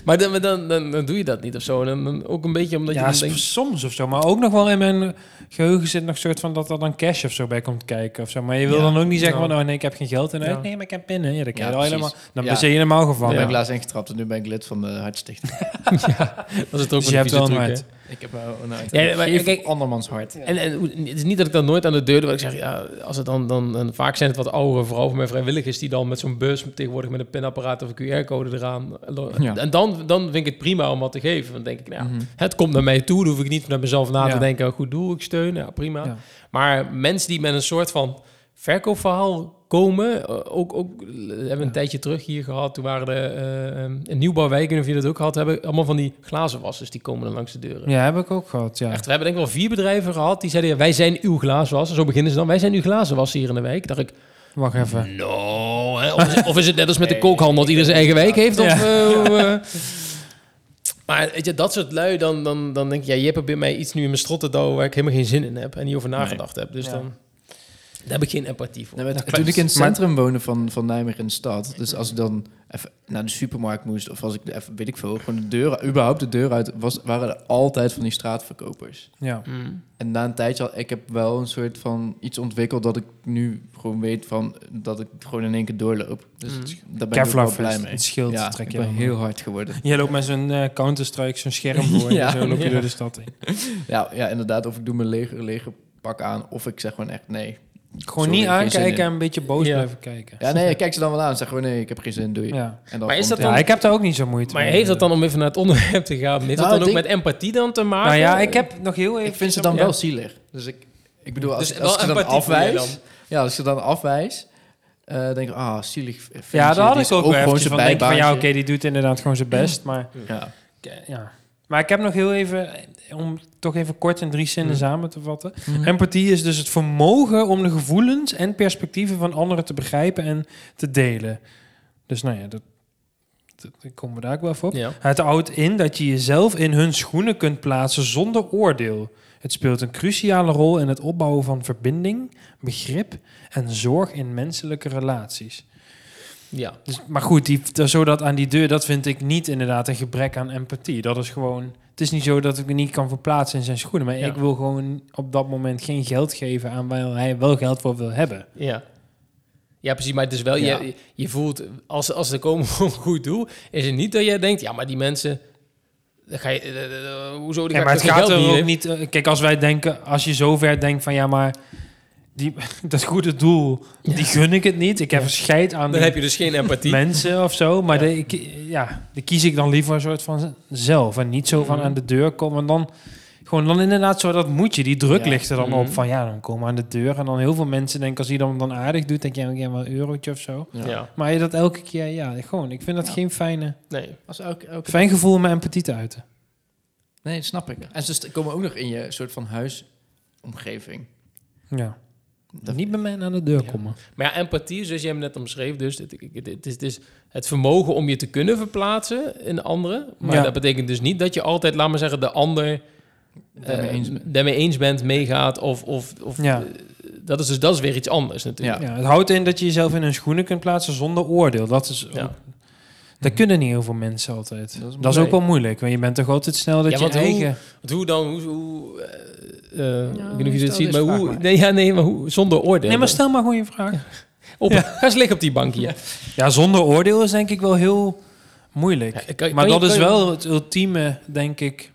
S1: Maar dan, maar dan, dan, dan doe je dat niet of zo. En dan, dan ook een beetje omdat
S2: ja,
S1: je dan
S2: s-
S1: denkt...
S2: soms of zo. Maar ook nog wel in mijn geheugen zit nog een soort van dat er dan cash of zo bij komt kijken of zo. Maar je wil
S1: Ja.
S2: dan ook niet zeggen
S1: Ja.
S2: van, oh nee, ik heb geen geld in
S1: Ja.
S2: uit. Nee, maar ik heb pinnen. Ja, dat kan
S3: Ja,
S2: je al
S3: precies.
S2: helemaal. Dan
S3: Ja.
S2: ben je helemaal
S3: daar
S2: gevangen.
S3: ben
S1: Ja.
S3: ik laatst ingetrapt en nu ben ik lid van de Hartstichting.
S1: Dat is het ook
S2: Dus je hebt
S1: vieze
S2: wel
S1: truc,
S2: een
S1: hè?
S2: hart.
S3: ik heb wel een uit.
S1: Ja, maar
S3: Geef
S1: kijk-
S3: andermans hart.
S1: En, en hoe- het is niet dat ik dan nooit aan de deur doe. want Ik zeg, ja, als het dan, dan, en vaak zijn het wat oudere vrouwen van mijn vrijwilligers... die dan met zo'n bus tegenwoordig met een pinapparaat of een QR-code eraan... lo-
S3: Ja.
S1: En dan, dan vind ik het prima om wat te geven. Dan denk ik, nou, ja,
S3: Mhm.
S1: het komt naar mij toe. Dan hoef ik niet naar mezelf na te
S2: Ja.
S1: denken. Goed doel, ik steun. Ja, prima.
S2: Ja.
S1: Maar mensen die met een soort van verkoopverhaal komen... eh, Ook, ook eh, hebben we een
S2: Ja.
S1: tijdje terug hier gehad. Toen waren er eh, een nieuwbouwwijk, ik weet niet of jullie dat ook gehad hebben... allemaal van die glazenwassers die komen dan langs de deuren.
S2: Ja, heb ik ook gehad. Ja.
S1: Echt, we hebben denk ik wel vier bedrijven gehad die zeiden... ja, wij zijn uw glazenwasser. Zo beginnen ze dan. Wij zijn uw glazenwasser hier in de wijk. Dacht ik,
S2: Wacht even.
S1: no. hè, Of is, of is het net als met de kookhandel dat ieder zijn eigen wijk heeft? Of,
S2: Ja.
S1: eh, hoe, eh. Maar weet je, dat soort lui, dan, dan, dan denk je... Ja, je hebt bij mij iets nu in mijn strot te douwen waar ik helemaal geen zin in heb... en niet over nagedacht heb. Dus
S2: Ja.
S1: dan daar heb ik geen empathie voor.
S3: Nee, maar
S2: Dat
S3: toen
S2: klopt.
S3: ik in het
S2: Maar-
S3: centrum woonde van, van Nijmegen in de stad, dus als ik dan even naar de supermarkt moest, of als ik even, weet ik veel, gewoon de deur, überhaupt de deur uit, was, waren er altijd van die straatverkopers.
S2: Ja.
S1: Mm.
S3: En na een tijdje had ik heb wel een soort van iets ontwikkeld dat ik nu gewoon weet van dat ik gewoon in één keer doorloop. Dus
S1: Mm.
S3: het- daar ben ik ook wel
S2: Kevlar
S3: blij
S2: vest.
S3: mee.
S2: Het schild
S3: ja,
S2: trek
S3: ik
S2: je
S3: ben
S2: dan.
S3: heel hard geworden.
S2: Je loopt met zo'n eh, Counter-Strike, zo'n scherm voor.
S3: Ja.
S2: en zo loop je
S1: Ja.
S2: door de stad in.
S3: Ja, ja, inderdaad. Of ik doe mijn leger, pak aan, of ik zeg gewoon echt nee.
S2: Gewoon
S3: Sorry,
S2: niet
S3: geen zin in.
S2: aankijken en een beetje boos
S1: Ja.
S2: blijven kijken.
S3: Ja, nee, ik kijk ze dan wel aan en zeg gewoon nee, ik heb geen zin, doei.
S2: Ja.
S3: En dan
S1: Maar is dat
S3: komt-
S2: Ja, ik heb daar ook niet eh. zo moeite
S1: Maar
S2: mee.
S1: heeft dat dan, om even naar het onderwerp te gaan... heeft dat
S3: Nou,
S1: dan ook
S3: ik
S1: met
S3: denk-
S1: empathie dan te maken?
S2: Nou ja, ik heb nog heel even...
S3: Ik vind ze dan
S1: Ja.
S3: wel zielig. Dus ik, ik bedoel, als,
S1: Dus
S3: als ik
S1: wel
S3: ze dan
S1: empathie voor je
S3: afwijs...
S1: dan?
S3: Ja, als ik ze dan afwijs, eh, denk ik, ah, zielig ventje,
S2: Ja, daar had
S3: die
S2: ik
S3: is
S2: ook wel
S3: gewoon
S2: eventjes
S3: zijn
S2: van. Denk ik van, ja, oké,
S3: bijbaantje.
S2: die doet inderdaad gewoon zijn best, maar...
S3: Ja.
S2: Ja. Maar ik heb nog heel even, eh, om toch even kort in drie zinnen
S1: Hmm.
S2: samen te vatten.
S3: Mhm.
S2: Empathie is dus het vermogen om de gevoelens en perspectieven van anderen te begrijpen en te delen. Dus nou ja, dat, dat, daar komen we daar ook wel even op.
S1: Ja.
S2: Het houdt in dat je jezelf in hun schoenen kunt plaatsen zonder oordeel. Het speelt een cruciale rol in het opbouwen van verbinding, begrip en zorg in menselijke relaties.
S1: Ja.
S2: Dus, maar goed, die, zo dat aan die deur, dat vind ik niet inderdaad een gebrek aan empathie. Dat is gewoon... Het is niet zo dat ik me niet kan verplaatsen in zijn schoenen. Maar
S1: Ja.
S2: ik wil gewoon op dat moment geen geld geven aan waar hij wel geld voor wil hebben.
S1: Ja. Ja, precies. Maar het is wel,
S3: Ja.
S1: je, je voelt, als, als ze komen voor een goed doel, is het niet dat jij denkt, ja, maar die mensen, dan ga je, eh, eh, eh, hoezo, die
S2: Ja,
S1: ga
S2: maar
S1: ik
S2: het
S1: toch geen geld
S2: gaat er ook
S1: bieden?
S2: niet... eh, Kijk, als wij denken, als je zover denkt van ja, maar die, dat goede doel,
S1: Ja.
S2: die gun ik het niet. Ik heb een scheid aan
S1: Dan
S2: die
S1: heb je dus geen empathie.
S2: mensen of zo. Maar de, ik, ja, die kies ik dan liever een soort van zelf. En niet zo van
S1: Mhm.
S2: aan de deur komen. En dan gewoon dan inderdaad zo dat moet je. Die druk
S3: Ja.
S2: ligt er dan
S1: Mhm.
S2: op. Van ja, dan komen we aan de deur. En dan heel veel mensen denken als die dan, dan aardig doet. Denk je, ja, ik heb wel een eurotje of zo.
S1: Ja.
S2: Maar je dat elke keer, ja, gewoon. Ik vind dat
S3: Ja.
S2: geen fijne,
S1: nee.
S3: Als elk, elk-
S2: fijn gevoel om mijn empathie te uiten.
S3: Nee, dat snap ik. En ze st- komen ook nog in je soort van huisomgeving.
S2: Ja.
S3: Dat-
S2: Niet bij mij aan de deur
S1: Ja.
S2: komen.
S1: Maar ja, empathie, zoals jij hem net omschreef, dus het, ik- het, het is, het is het vermogen om je te kunnen verplaatsen in anderen. Maar
S2: Ja.
S1: dat betekent dus niet dat je altijd, laat maar zeggen, de ander
S3: Daarmee
S1: eh,
S3: eens bent.
S1: daarmee eens bent, meegaat of, of, of
S2: Ja.
S1: eh, dat is dus dat is weer iets anders natuurlijk.
S3: Ja.
S2: Ja, het houdt in dat je jezelf in hun schoenen kunt plaatsen zonder oordeel. Dat is
S1: Ja.
S2: ook- dat kunnen niet heel veel mensen altijd.
S3: Dat
S2: Dat
S3: is
S2: is,
S1: moeilijk.
S2: ook wel moeilijk, want je bent toch altijd snel dat
S1: Ja,
S2: je
S1: want hoe-
S2: eigen...
S1: Want hoe dan, hoe, hoe eh, eh, ik weet niet of je
S3: stel
S1: dit ziet,
S3: deze
S1: maar
S3: vraag
S1: hoe,
S3: maar.
S1: nee, ja, nee, maar hoe, zonder oordeel.
S2: Nee, maar stel maar gewoon je vraag. Ja.
S1: op, Ga eens liggen op die bank hier.
S2: zonder oordeel is denk ik wel heel moeilijk.
S1: Ja, kan-
S2: maar
S1: kan je-
S2: dat is
S1: kan je-
S2: wel het ultieme, denk ik...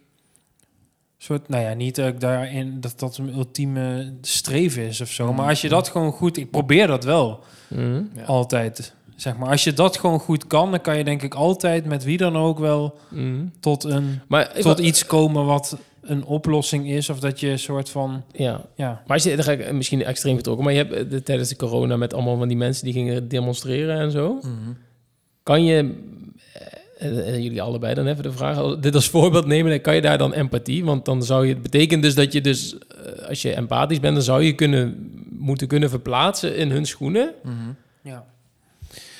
S2: Soort, nou ja, niet dat ik daarin dat dat een ultieme streven is of zo. Maar als je dat gewoon goed... Ik probeer dat wel.
S1: Mhm.
S3: Ja.
S2: altijd. Zeg maar, als je dat gewoon goed kan, dan kan je denk ik altijd met wie dan ook wel
S1: Mhm.
S2: tot, een,
S1: Maar, ik
S2: tot
S1: wil-
S2: iets komen wat een oplossing is. Of dat je een soort van,
S1: Ja,
S2: ja.
S1: Maar als je, dan ga ik eh, misschien extreem vertrokken, maar je hebt eh, de- tijdens de corona met allemaal van die mensen die gingen demonstreren en zo.
S2: Mm-hmm.
S1: Kan je, eh, eh, eh, jullie allebei dan even de vraag, als- dit als voorbeeld nemen, dan kan je daar dan empathie? Want dan zou je, het betekent dus dat je dus, eh, als je empathisch bent, dan zou je kunnen, moeten kunnen verplaatsen in hun schoenen.
S2: Mhm. ja.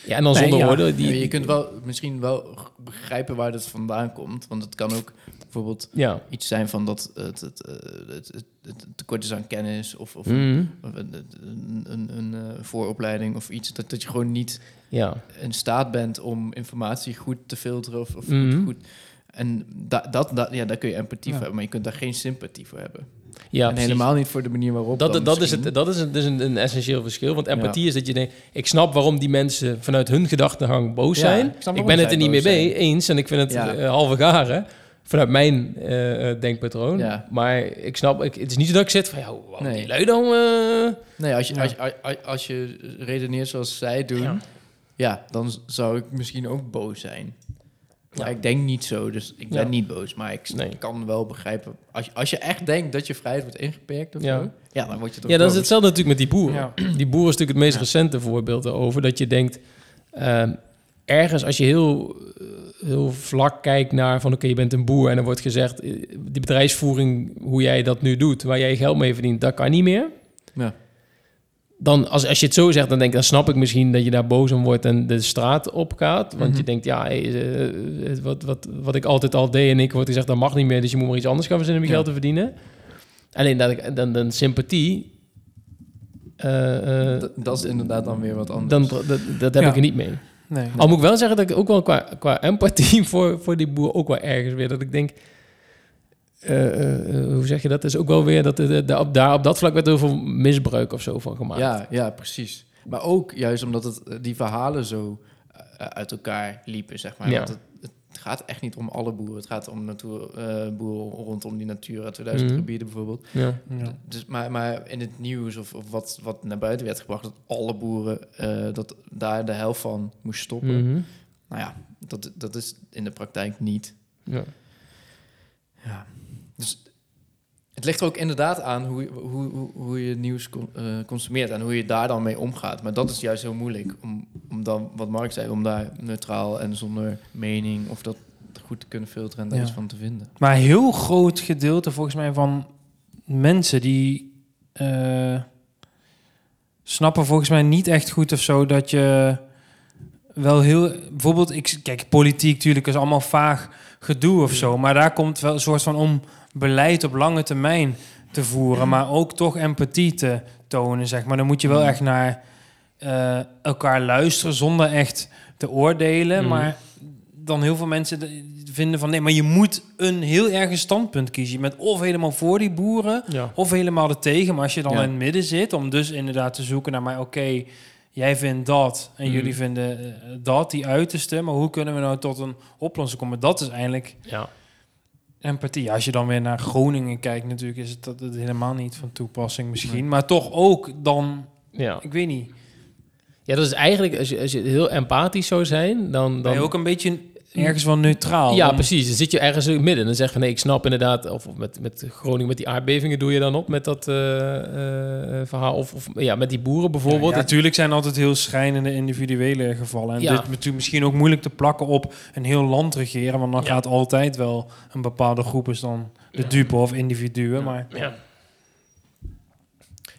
S1: Ja, en dan
S2: Nee,
S1: zonder
S2: ja.
S1: oordeel.
S3: Ja,
S1: Die,
S3: je kunt wel misschien wel g- begrijpen waar dit vandaan komt. Want het kan ook bijvoorbeeld
S1: Ja.
S3: iets zijn van dat het, het, eh, het, het, het tekort is aan kennis of, of
S1: Mhm.
S3: of een, een, een, een eh, vooropleiding of iets. Dat, dat je gewoon niet
S1: Ja.
S3: in staat bent om informatie goed te filteren of, of
S1: Mhm.
S3: goed, goed. En da, dat, dat, ja, daar kun je empathie
S2: Ja.
S3: voor hebben, maar je kunt daar geen sympathie voor hebben.
S1: Ja,
S3: en
S1: precies.
S3: helemaal niet voor de manier waarop.
S1: Dat,
S3: dan
S1: dat, is
S3: misschien.
S1: het, dat is, het, dus een, een essentieel verschil. Want empathie is dat je denkt... ik snap waarom die mensen vanuit hun gedachtengang boos
S3: Ja,
S1: zijn.
S3: ik snap
S1: Ik,
S3: waarom
S1: ben het
S3: zij
S1: er niet mee
S3: boos
S1: mee
S3: zijn.
S1: eens... en ik vind het
S3: Ja.
S1: eh, halve garen vanuit mijn eh, eh, denkpatroon.
S3: Ja.
S1: Maar ik snap... Ik, het is niet dat ik zit van... Ja, waarom
S3: Nee.
S1: die lui dan... eh?
S3: Nee, als je,
S2: Ja.
S3: als, je- als, als je redeneert zoals zij doen,
S1: Ja.
S3: ja. dan z- zou ik misschien ook boos zijn. Maar
S1: Ja.
S3: ik denk niet zo, dus ik ben
S1: Ja.
S3: niet boos. Maar ik s-
S1: Nee.
S3: kan wel begrijpen. Als, je- als je echt denkt dat je vrijheid wordt ingeperkt of
S1: Ja.
S3: zo, ja, dan word je toch
S1: Ja, dat is
S3: boos.
S1: hetzelfde natuurlijk met die boeren.
S2: Ja.
S1: Die boeren is natuurlijk het meest recente voorbeeld daarover. Dat je denkt, eh, ergens als je heel, eh, heel vlak kijkt naar van... oké, je bent een boer en er wordt gezegd... eh, die bedrijfsvoering, hoe jij dat nu doet... waar jij je geld mee verdient, dat kan niet meer.
S3: Ja.
S1: Dan, als, als je het zo zegt, dan denk ik... dan snap ik misschien dat je daar boos om wordt en de straat op gaat. Want
S3: Mhm.
S1: je denkt, ja, hey, eh, eh, wat, wat, wat ik altijd al deed... en ik word gezegd, dat mag niet meer... dus je moet maar iets anders gaan verzinnen om je
S3: Ja.
S1: geld te verdienen. Alleen dat ik, dan, dan sympathie... eh, eh,
S3: D- dat is inderdaad dan weer wat anders.
S1: dan, dat, dat heb
S2: Ja.
S1: ik er niet mee.
S2: Nee.
S1: Al moet ik wel zeggen dat ik ook wel qua, qua empathie voor, voor die boer ook wel ergens weer. Dat ik denk, eh, eh, hoe zeg je dat? Is ook wel weer dat er- daar op, daar op dat vlak werd heel veel misbruik of zo van gemaakt.
S3: Ja, ja, precies. Maar ook juist omdat het, eh, die verhalen zo eh, uit elkaar liepen, zeg maar.
S1: Ja.
S3: Want het, het gaat echt niet om alle boeren. Het gaat om natuur, eh, boeren rondom die Natura 2000
S1: Mhm.
S3: gebieden bijvoorbeeld.
S1: Ja.
S2: Ja.
S3: Dus, maar, maar in het nieuws of, of wat, wat naar buiten werd gebracht... dat alle boeren eh, dat daar de helft van moest stoppen.
S1: Mhm.
S3: Nou ja, dat, dat is in de praktijk niet.
S1: ja.
S3: Ja. Dus het ligt er ook inderdaad aan hoe, je- hoe, hoe, hoe je het nieuws con- eh, consumeert en hoe je daar dan mee omgaat. Maar dat is juist heel moeilijk om, om dan, wat Mark zei, om daar neutraal en zonder mening of dat goed te kunnen filteren en daar
S2: Ja.
S3: iets van te vinden.
S2: Maar een heel groot gedeelte volgens mij van mensen die eh, snappen volgens mij niet echt goed of zo dat je wel heel bijvoorbeeld ik kijk politiek natuurlijk is allemaal vaag gedoe of zo, maar daar komt wel een soort van om beleid op lange termijn te voeren, maar ook toch empathie te tonen zeg maar. Dan moet je wel echt naar eh, elkaar luisteren zonder echt te oordelen,
S1: Mhm.
S2: maar dan heel veel mensen de- vinden van nee, maar je moet een heel erg standpunt kiezen. Je bent of helemaal voor die boeren,
S1: Ja.
S2: of helemaal er tegen. Maar als je dan
S3: Ja.
S2: in het midden zit, om dus inderdaad te zoeken naar, maar oké, jij vindt dat en
S1: Mhm.
S2: jullie vinden eh, dat, die uiterste. Maar hoe kunnen we nou tot een oplossing komen? Dat is eigenlijk
S1: Ja.
S2: empathie. Ja, als je dan weer naar Groningen kijkt, natuurlijk is het dat het helemaal niet van toepassing misschien. Maar toch ook dan,
S1: Ja.
S2: ik weet niet,
S1: ja, dat is eigenlijk, als je, als je heel empathisch zou zijn, dan...
S2: ben
S1: dan
S2: je ook een beetje ergens wel neutraal.
S1: ja,
S2: Om-
S1: precies. Dan zit je ergens in het midden. Dan zeg je van, nee, ik snap inderdaad... Of, of met, met Groningen, met die aardbevingen doe je dan op met dat eh, eh, verhaal. Of, of ja, met die boeren bijvoorbeeld.
S2: Ja, natuurlijk zijn altijd heel schrijnende individuele gevallen. En
S1: Ja.
S2: dit is natuurlijk misschien ook moeilijk te plakken op een heel land regeren. Want dan
S1: Ja.
S2: gaat altijd wel een bepaalde groep is dan de dupe of individuen. Maar
S1: Ja.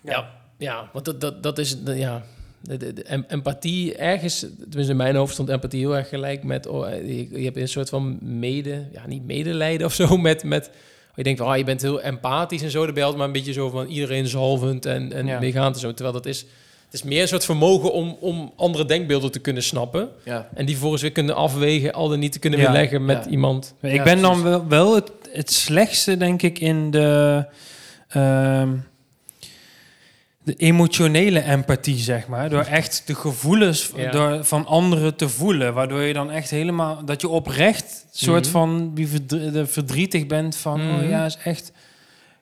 S1: Ja, ja want dat, dat, dat is... dat- ja. De, de- de em- empathie ergens, tenminste in mijn hoofd stond empathie heel erg gelijk met... Oh, eh, je, je hebt een soort van mede... Ja, niet medelijden of zo met... met je denkt, van, ah, je bent heel empathisch en zo, de belt, maar een beetje zo van iedereen zalvend en, en
S2: Ja.
S1: meegaand en zo. Terwijl dat is, het is meer een soort vermogen om, om andere denkbeelden te kunnen snappen.
S3: Ja.
S1: En die vervolgens weer kunnen afwegen, al dan niet te kunnen
S2: Ja,
S1: weerleggen met
S3: ja.
S1: iemand.
S2: Ik
S3: Ja,
S2: ben dan
S3: precies.
S2: wel, wel het, het slechtste, denk ik, in de, ehm, de emotionele empathie, zeg maar. Door echt de gevoelens v-
S1: Ja.
S2: door, van anderen te voelen. Waardoor je dan echt helemaal, dat je oprecht soort
S1: Mhm.
S2: van die verdr- de verdrietig bent van,
S1: Mhm.
S2: oh ja, is echt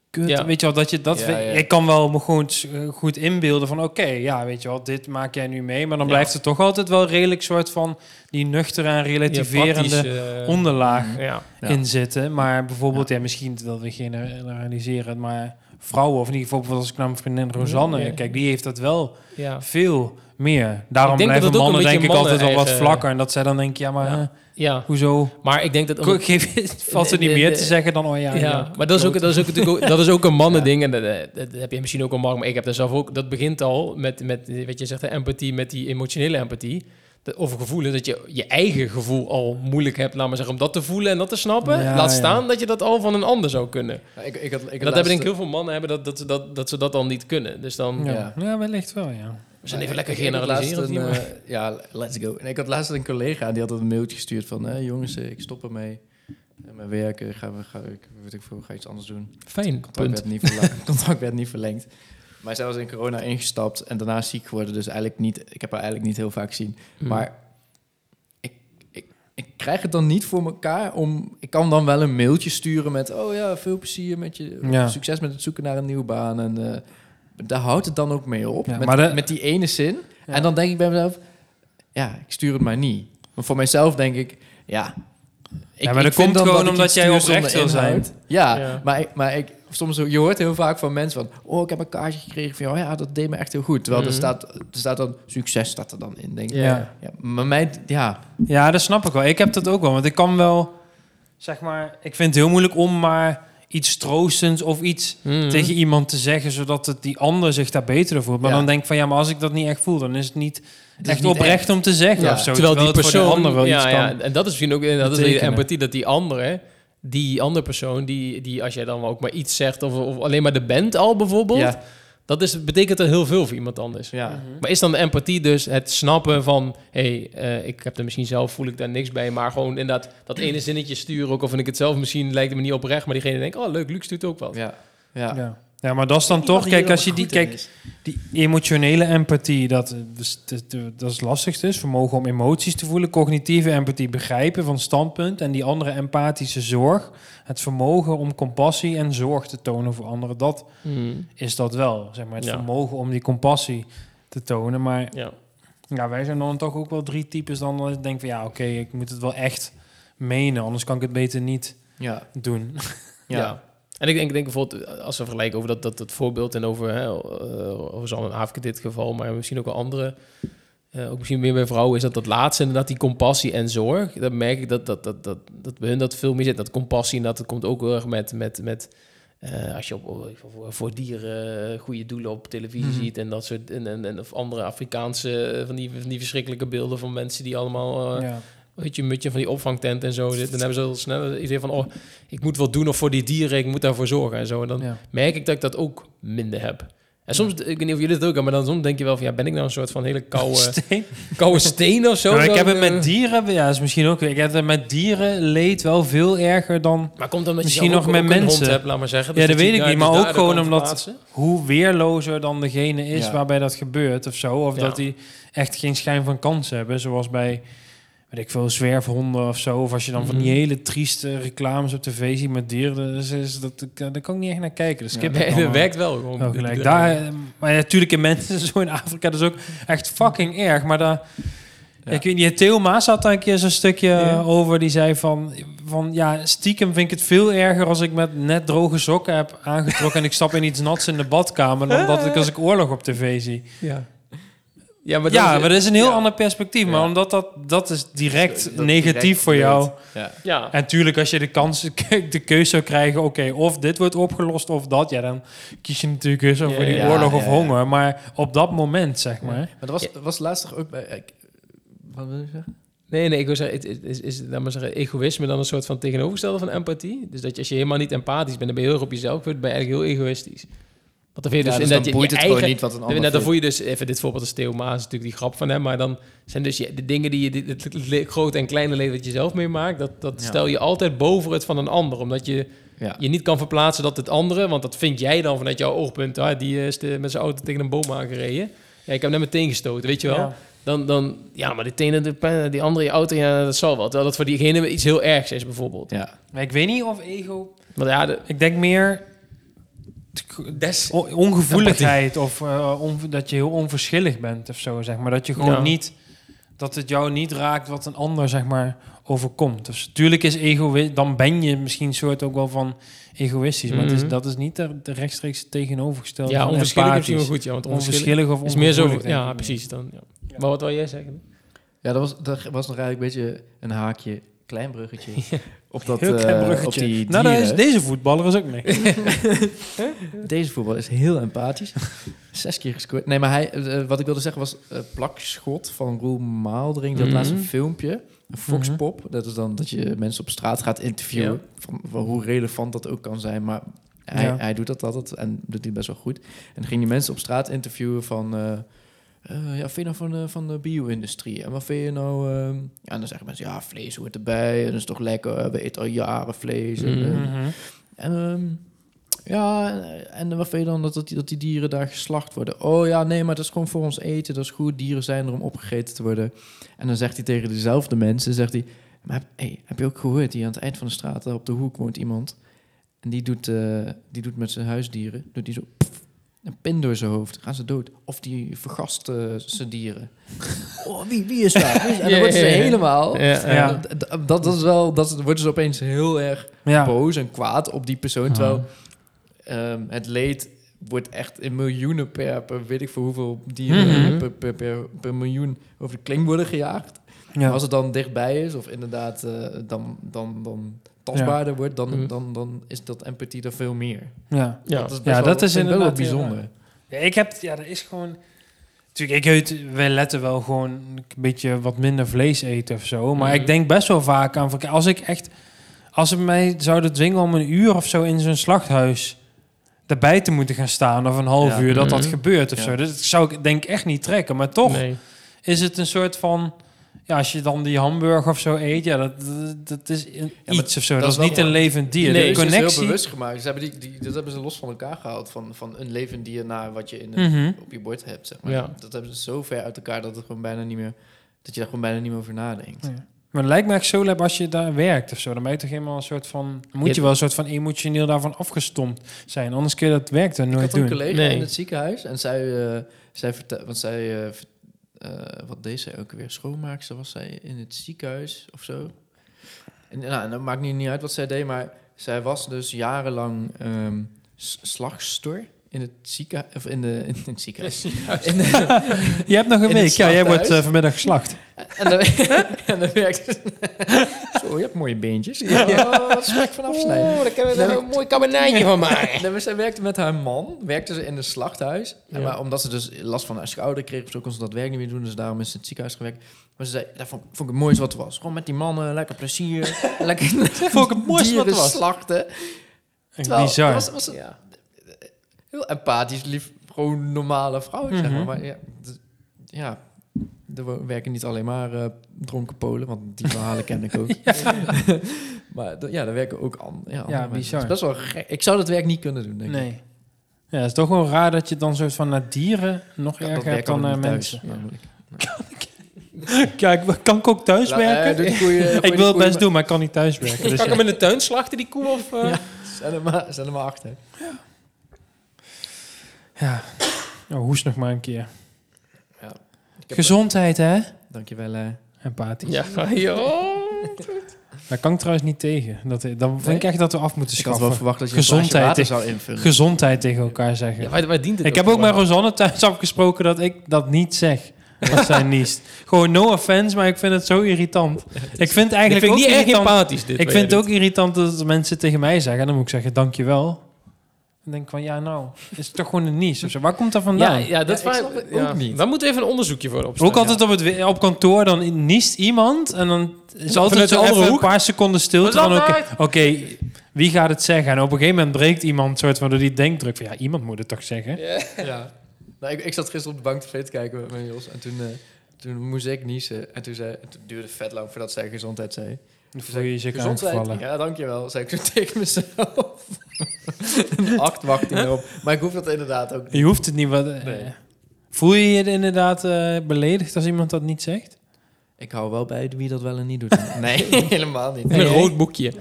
S2: kut.
S1: Ja.
S2: Weet je wel, dat je dat...
S3: Ja,
S2: we-
S3: ja.
S2: Ik kan wel me gewoon s- eh, goed inbeelden van, oké, ja, weet je wel, dit maak jij nu mee. Maar dan
S1: Ja.
S2: blijft het toch altijd wel redelijk soort van die nuchtere en relativerende
S1: praktische, eh,
S2: onderlaag
S1: Ja.
S3: Ja.
S2: in zitten. Maar bijvoorbeeld, ja. misschien dat we generaliseren, maar vrouwen, of in ieder geval bijvoorbeeld als ik naar mijn vriendin Rosanne
S1: Mm, Ja.
S2: kijk, die heeft dat wel
S1: ja.
S2: veel meer. Daarom
S1: Ik denk
S2: blijven
S1: dat het ook
S2: mannen
S1: een
S2: denk
S1: beetje
S2: ik altijd wel wat
S1: mannen-eigen-
S2: vlakker. En dat zij dan denken, ja, maar
S1: Ja.
S2: eh,
S1: Ja,
S2: hoezo?
S1: maar ik denk dat...
S2: Ko- Geef, valt er
S1: de-
S2: niet
S1: de-
S2: meer
S1: de-
S2: te zeggen dan, oh ja.
S1: ja,
S2: ja,
S1: maar dat is, ook,
S2: klote.
S1: dat, is ook, natuurlijk ook, dat is ook een mannending. En dat, eh, dat heb je misschien ook al, Mark, maar ik heb daar zelf ook... Dat begint al met, met eh, wat je zegt, de empathie, met die emotionele empathie. De, over gevoelens, dat je je eigen gevoel al moeilijk hebt, laat maar zeggen, om dat te voelen en dat te snappen.
S2: Ja,
S1: laat
S2: ja.
S1: staan dat je dat al van een ander zou kunnen.
S3: Ja, Ik, ik had, ik had
S1: En dat hebben denk ik heel veel mannen hebben, dat, dat, ze dat, dat ze dat al niet kunnen. Dus dan...
S2: Ja.
S3: Ja.
S2: Ja, wellicht wel, ja.
S1: We zijn even
S3: Ik-
S1: lekker
S3: ik- ik had
S1: generaliserend. hier,
S3: laatst
S1: maar-
S3: een, eh, Ja, let's go. En ik had laatst een collega, die had een mailtje gestuurd van... eh, jongens, eh, ik stop ermee. Eh, Mijn werk, eh, ga, we- ga, ik, weet ik veel, ga iets anders doen.
S1: Fijn,
S3: Contract
S1: punt.
S3: werd, niet verla- contract werd niet verlengd. Maar zij was in corona ingestapt en daarna ziek geworden. Dus eigenlijk niet, ik heb haar eigenlijk niet heel vaak gezien.
S2: Mm.
S3: Maar ik, ik, ik krijg het dan niet voor elkaar om... Ik kan dan wel een mailtje sturen met... Oh ja, veel plezier met je...
S2: Ja.
S3: Succes met het zoeken naar een nieuwe baan. En eh, daar houdt het dan ook mee op.
S2: Ja,
S3: met,
S2: maar de-
S3: met die ene zin.
S2: Ja.
S3: En dan denk ik bij mezelf... Ja, ik stuur het maar niet. Maar voor mijzelf denk ik... Ja, ik,
S2: Ja, maar dat
S3: vind
S2: komt
S3: dan
S2: gewoon
S3: ik
S2: omdat
S3: iets
S2: jij
S3: stuur
S2: oprecht
S3: zonder
S2: wil zijn.
S3: inhoud. Ja,
S1: Ja.
S3: maar, ik, maar ik, soms, je hoort heel vaak van mensen van... Oh, ik heb een kaartje gekregen van... Oh ja, dat deed me echt heel goed. Terwijl er,
S1: Mhm.
S3: staat, er staat dan... Succes staat er dan in, denk ik.
S1: Ja.
S2: Ja.
S3: Ja, maar mij... Ja,
S2: Ja, dat snap ik wel. Ik heb dat ook wel, want ik kan wel, zeg maar, ik vind het heel moeilijk om maar iets troostends of iets
S1: Mm.
S2: tegen iemand te zeggen, zodat het die ander zich daar beter door voelt. Maar
S3: Ja.
S2: dan denk ik van ja, maar als ik dat niet echt voel, dan is het niet
S3: is
S2: echt
S3: niet
S2: oprecht om te zeggen.
S3: Ja.
S2: Of zo.
S1: terwijl, die
S2: het voor de
S1: persoon
S2: ander wel
S1: ja,
S2: iets
S1: ja,
S2: kan.
S1: en dat is misschien ook dat is weer de
S2: betekenen.
S1: empathie dat die andere die andere persoon die, die als jij dan ook maar iets zegt of, of alleen maar de bent al bijvoorbeeld
S3: Ja.
S1: dat is betekent er heel veel voor iemand anders
S3: Ja.
S1: maar is dan de empathie dus het snappen van hey eh, ik heb er misschien zelf voel ik daar niks bij maar gewoon inderdaad dat ene zinnetje sturen ook of vind ik het zelf misschien lijkt het me niet oprecht maar diegene denkt oh leuk Luc stuurt ook wat
S3: Ja. Ja.
S2: Ja. Ja, maar dat is dan toch, kijk, als je die, kijk, die emotionele empathie, dat, eh, dus dat, dat is het lastigste, is vermogen om emoties te voelen, cognitieve empathie, begrijpen van standpunt en die andere empathische zorg, het vermogen om compassie en zorg te tonen voor anderen, dat
S1: Hmm,
S2: is dat wel. Zeg maar, het
S1: Ja.
S2: vermogen om die compassie te tonen. Maar
S1: ja.
S2: ja, wij zijn dan toch ook wel drie types dan dat ik denk van ja, oké, ik moet het wel echt menen, anders kan ik het beter niet
S3: Ja.
S2: doen.
S1: Ja.
S3: Ja.
S1: En ik denk, ik denk bijvoorbeeld, eh, als we vergelijken over dat, dat, dat voorbeeld en over hè, eh, Rosanne en Aafke in dit geval, maar misschien ook wel andere, eh, ook misschien meer bij vrouwen, is dat dat laatste inderdaad die compassie en zorg. Dan merk ik dat, dat, dat, dat, dat bij hun dat veel meer zit. Dat compassie inderdaad, dat komt ook heel erg met, met, met eh, als je op, voor, voor dieren eh, goede doelen op televisie
S3: Mhm.
S1: ziet en dat soort, en, en, en of andere Afrikaanse, eh, van die, van die verschrikkelijke beelden van mensen die allemaal... eh,
S2: ja.
S1: weet je, een mutje van die opvangtent en zo. Dit, dan hebben ze al snel het idee van, oh, ik moet wat doen of voor die dieren, ik moet daarvoor zorgen en zo. En dan
S2: Ja.
S1: merk ik dat ik dat ook minder heb. En soms, ik weet niet of jullie het ook hebben, maar dan soms denk je wel van, ja, ben ik nou een soort van hele koude,
S2: Steen.
S1: koude steen of zo?
S2: Maar Nou, ik
S1: Dan,
S2: heb het
S1: eh,
S2: met dieren, ja, is misschien ook. Ik heb het met dieren leed wel veel erger dan
S1: Maar komt dan dat
S2: Misschien
S1: je zelf
S2: nog
S1: ook-
S2: met
S1: ook een hond
S2: mensen.
S1: hebt, laat maar zeggen.
S2: Ja, dat
S1: je
S2: weet ik
S1: daar-
S2: niet, maar
S1: dus
S2: ook
S1: daardoor
S2: gewoon
S1: kan
S2: omdat-
S1: verplaatsen.
S2: hoe weerlozer dan degene is
S3: Ja.
S2: waarbij dat gebeurt of zo. Of
S1: Ja.
S2: dat die echt geen schijn van kans hebben, zoals bij weet ik veel, zwerfhonden of zo. Of als je dan van die
S1: Mhm.
S2: hele trieste reclames op tv ziet met dieren, dan is, is dat, daar kan ik niet echt naar kijken. Dus
S3: Ja.
S2: skip ik
S1: Nee,
S2: allemaal.
S1: dat werkt wel gewoon.
S2: Wel Oh, gelijk. Daar, maar natuurlijk in mensen zo in Afrika, dat is ook echt fucking erg. Maar daar,
S3: Ja.
S2: ik weet niet, Theo Maas had daar een keer zo'n stukje
S1: Ja.
S2: over. Die zei van, van, ja, stiekem vind ik het veel erger als ik met net droge sokken heb aangetrokken en ik stap in iets nats in de badkamer dan dat ik als ik oorlog op tv zie.
S1: Ja. Ja, maar
S2: ja,
S1: dat is-
S2: maar dat is een heel
S1: ja.
S2: ander perspectief. Maar
S3: Ja.
S2: omdat dat, dat is direct
S3: Dat- dat
S2: negatief
S3: direct
S2: voor
S3: gebeurt.
S2: jou.
S3: Ja.
S1: ja.
S2: En tuurlijk, als je de kans, de keuze zou krijgen, oké, of dit wordt opgelost of dat, ja, dan kies je natuurlijk dus voor die
S1: Ja,
S2: oorlog
S3: ja,
S2: of
S3: ja.
S2: honger. Maar op dat moment, zeg maar.
S3: Maar dat was, was laatst toch ook bij... Ik, wat wil je zeggen?
S1: Nee, nee, ik wil zeggen, het het is, is laat maar zeggen, egoïsme dan een soort van tegenovergestelde van empathie? Dus dat je, als je helemaal niet empathisch bent, dan ben je heel erg op jezelf, dan ben je eigenlijk heel egoïstisch. Want dan vind je
S3: Ja,
S1: dus, inderdaad
S3: dus dan
S1: je- je
S3: boeit het
S1: eigen-
S3: gewoon niet wat een ander
S1: dan, dan
S3: vindt.
S1: voel je dus, even dit voorbeeld als Theo Maas, natuurlijk die grap van hem, maar dan zijn dus je, de dingen die je, dit- het le- grote en kleine leven dat je zelf meemaakt, dat, dat
S3: Ja.
S1: stel je altijd boven het van een ander, omdat je
S3: Ja.
S1: je niet kan verplaatsen dat het andere, want dat vind jij dan vanuit jouw oogpunt, ah, die is de, met zijn auto tegen een boom aangereden. Ja, ik heb hem net meteen gestoten, weet je wel.
S2: Ja.
S1: Dan, dan, ja, maar die, tenen, de, die andere je auto, ja, dat zal wel. Terwijl dat voor diegene iets heel ergs is, bijvoorbeeld.
S3: Ja.
S2: Maar ik weet niet of ego...
S1: Want ja, de,
S2: Ik denk meer
S1: des...
S2: o- ongevoeligheid of eh, on- dat je heel onverschillig bent of zo, zeg maar. Dat je gewoon
S1: Ja.
S2: niet... Dat het jou niet raakt wat een ander, zeg maar, overkomt. Dus natuurlijk is ego... Dan ben je misschien soort ook wel van egoïstisch. Maar het
S1: Mhm.
S2: is, dat is niet de, de rechtstreeks tegenovergestelde
S1: Ja,
S2: van
S1: onverschillig is misschien wel
S2: empathisch.
S1: goed, ja. Want onverschillig
S2: Onverschillig
S1: is
S2: of
S1: meer zo...
S2: ongevoelig, denk ik
S1: Ja,
S2: meer.
S1: precies dan. Ja. Maar wat wil jij zeggen?
S3: Ja, dat was, dat was nog eigenlijk een beetje een haakje, klein bruggetje. Op dat,
S2: Heel klein
S3: eh,
S2: bruggetje.
S3: op die
S2: nou, daar is
S3: dieren.
S2: deze voetballer is ook mee.
S3: Deze voetbal is heel empathisch. Zes keer gescoord. Nee, maar hij, eh, wat ik wilde zeggen was eh, plakschot van Roel Maaldring. Dat
S1: Mhm.
S3: laatste filmpje. Een foxpop. Dat is dan dat je mensen op straat gaat interviewen. Van, van hoe relevant dat ook kan zijn. Maar hij,
S2: Ja.
S3: hij doet dat altijd en doet die best wel goed. En dan ging die mensen op straat interviewen van... eh, eh, ja, wat vind je nou van de, van de bio-industrie? En wat vind je nou... ehm, ja, en dan zeggen mensen, ja, vlees hoort erbij. En dat is toch lekker. We eten al jaren vlees. En,
S1: Mhm.
S3: eh, Ehm, ja, en wat vind je dan dat, dat, die, dat die dieren daar geslacht worden? Oh ja, nee, maar dat is gewoon voor ons eten. Dat is goed. Dieren zijn er om opgegeten te worden. En dan zegt hij tegen dezelfde mensen, zegt hij... Maar heb, hey, heb je ook gehoord, hier aan het eind van de straat, daar op de hoek woont iemand. En die doet, eh, die doet met zijn huisdieren, doet die zo... pff, een pin door zijn hoofd, gaan ze dood. Of die vergast eh, zijn dieren. Oh, wie, wie is dat? Wie is- En dan worden ze
S1: Ja, ja, ja.
S3: helemaal...
S1: Ja,
S2: ja.
S3: D- d- Dat, dat is wel... Dat wordt ze opeens heel erg
S2: Ja.
S3: boos en kwaad op die persoon. Terwijl ehm, het leed wordt echt in miljoenen per, per weet ik voor hoeveel dieren eh,
S2: Mhm.
S3: per, per, per, per miljoen over de kling worden gejaagd.
S2: Ja.
S3: Maar Als het dan dichtbij is of inderdaad eh, dan, dan, dan tastbaarder wordt, dan,
S1: Mhm.
S3: dan, dan is dat empathie er veel meer.
S2: ja.
S1: Ja.
S3: best
S2: Ja, dat is
S3: vind ik wel
S2: inderdaad,
S3: bijzonder.
S2: ja. Ja, ik heb, ja, er is gewoon. Natuurlijk, ik eet, wij letten wel gewoon een beetje wat minder vlees eten of zo. Maar
S1: Mhm.
S2: ik denk best wel vaak aan. verk- Als ik echt. Als ze mij zouden dwingen om een uur of zo in zo'n slachthuis. erbij te moeten gaan staan. of een half
S3: Ja.
S2: uur, dat dat
S1: Mhm.
S2: gebeurt of
S3: Ja.
S2: zo. Dat zou ik denk ik echt niet trekken. Maar toch
S1: Nee.
S2: is het een soort van. Ja, als je dan die hamburger of zo eet, ja, dat, dat, dat is een
S3: maar
S2: iets of zo.
S3: dat
S2: Dat,
S3: is
S2: is
S3: wel-
S2: niet een levend dier.
S1: Nee,
S2: de
S3: Dus het is heel
S2: connectie.
S3: bewust gemaakt. Ze hebben die, die, dat hebben ze los van elkaar gehaald. Van, van een levend dier naar wat je in een
S2: Mhm.
S3: op je bord hebt. Zeg maar.
S1: Ja.
S3: Dat hebben ze zo ver uit elkaar dat het gewoon bijna niet meer dat je daar gewoon bijna niet meer over nadenkt.
S2: Maar het lijkt me echt zo lab als je daar werkt of zo. Dan ben je toch helemaal een soort van... Moet je,
S1: Je-
S2: wel een soort van emotioneel daarvan afgestompt zijn. Anders kun je dat werk dan
S3: Ik
S2: nooit
S3: had een
S2: doen.
S3: collega
S1: Nee.
S3: in het ziekenhuis en zij, eh, zij vertelde, want zij, eh, vert- eh, wat deed zij ook weer? Schoonmaakster was zij in het ziekenhuis of zo. En nou, dat maakt nu niet uit wat zij deed, maar zij was dus jarenlang ehm s- slagster in het ziekenhuis, of in, de, in het ziekenhuis. In de-
S2: Je hebt nog een
S3: In het
S2: week. Ja, jij wordt
S3: slachthuis.
S2: eh, vanmiddag geslacht.
S3: En dan, en dan werkt ze. Zo, je hebt mooie beentjes. Ja, wat smaak van afsnijden.
S1: Oh, daar kunnen
S3: we er
S1: een mooi kabinijtje van maken.
S3: Nee, maar zij werkte met haar man, werkte ze in een slachthuis. En
S1: Ja.
S3: Maar omdat ze dus last van haar schouder kreeg, of zo kon ze dat werk niet meer doen. Dus daarom is ze in het ziekenhuis gewerkt. Maar ze zei, dat vond, vond ik het mooiste wat er was. Gewoon met die mannen, lekker plezier. lekker
S2: Vond ik het mooiste wat er
S3: dieren
S2: was.
S3: slachten.
S2: Echt
S3: Terwijl,
S2: Bizar.
S3: Was, was een
S1: Ja.
S3: heel empathisch, lief, gewoon normale vrouw, zeg
S2: Mhm.
S3: maar. Maar ja, d- ja, er wo- werken niet alleen maar eh, dronken Polen, want die verhalen ken ik ook. maar d- ja, er werken ook an ja, andere mensen.
S2: bizar.
S3: Het is best wel gek. Ik zou dat werk niet kunnen doen, denk ik.
S2: Nee. Ja, het is toch wel raar dat je dan soort van naar dieren nog
S3: Ja,
S2: erger
S3: werk
S2: hebt
S3: kan
S2: dan
S3: ik eh,
S2: naar
S3: niet thuis,
S2: mensen.
S3: namelijk.
S2: Kijk, kan ik ook thuis
S3: La- eh,
S2: werken?
S3: doe die koeien- gooi
S2: ik
S3: die
S2: wil het
S3: koeien
S2: best doen, maar ik kan niet thuis werken. Dus
S1: Kan ik
S2: ja.
S1: hem in de tuin slachten, die koe? Of, eh?
S3: Ja. maar- Zet hem maar, zet hem maar achter.
S2: Ja. Oh, hoes nog maar een keer.
S3: Ik heb-
S2: Gezondheid, hè?
S3: Dankjewel. eh.
S2: Empathisch.
S1: Ja, joh.
S2: Daar kan ik trouwens niet tegen. Dat, eh, dan
S3: Nee.
S2: vind ik echt dat we af moeten
S3: ik had
S2: schaffen.
S3: wel verwacht dat je
S2: Gezondheid
S3: een glaasje
S2: is-
S3: water zou invullen.
S2: gezondheid tegen elkaar zeggen.
S1: Ja, waar, waar dient het
S2: ik heb ook
S1: voor?
S2: met Rosanne thuis afgesproken dat ik dat niet zeg. Als zij niest. Gewoon no offense, maar ik vind het zo irritant. Ik vind
S1: Dit
S2: eigenlijk
S1: vind ik
S2: ook
S1: niet erg
S2: irritant.
S1: empathisch, dit.
S2: Ik
S1: wat jij
S2: vind het
S1: doet.
S2: ook irritant dat mensen tegen mij zeggen. En dan moet ik zeggen dankjewel. En denk ik van, ja nou, is het toch gewoon een niche of zo. Waar komt dat
S1: Ja,
S2: vandaan?
S1: ja, dat
S3: Ja,
S1: ja,
S3: ik snap het ook niet.
S1: Daar moeten we even een onderzoekje voor opstellen.
S2: Ook altijd op, het, we- op kantoor, dan niest iemand en dan is altijd
S1: vanuit de
S2: zo
S1: andere
S2: even een
S1: hoek.
S2: paar seconden stilte
S1: Wat is
S2: van
S1: dat
S2: oké, oké, wie gaat het zeggen? En op een gegeven moment breekt iemand soort van door die denkdruk van ja, iemand moet het toch zeggen.
S3: Ja. Nou, ik, ik zat gisteren op de bank tv te kijken met mijn Jos. En toen, eh, toen moest ik niezen. En toen, zei, en toen duurde het vet lang voordat zij gezondheid zei.
S2: Dan voel je je zeker
S3: Gezondheid?
S2: aangevallen.
S3: Ja, dankjewel, zei ik zo tegen mezelf. een acht wacht erop. Maar ik hoef dat inderdaad ook niet.
S2: Je hoeft het niet wat. eh,
S3: Nee.
S2: Voel je je inderdaad eh, beledigd als iemand dat niet zegt?
S3: Ik hou wel bij wie dat wel en niet doet. Nee, helemaal niet.
S1: In
S2: Nee,
S1: een
S2: hè?
S1: rood boekje.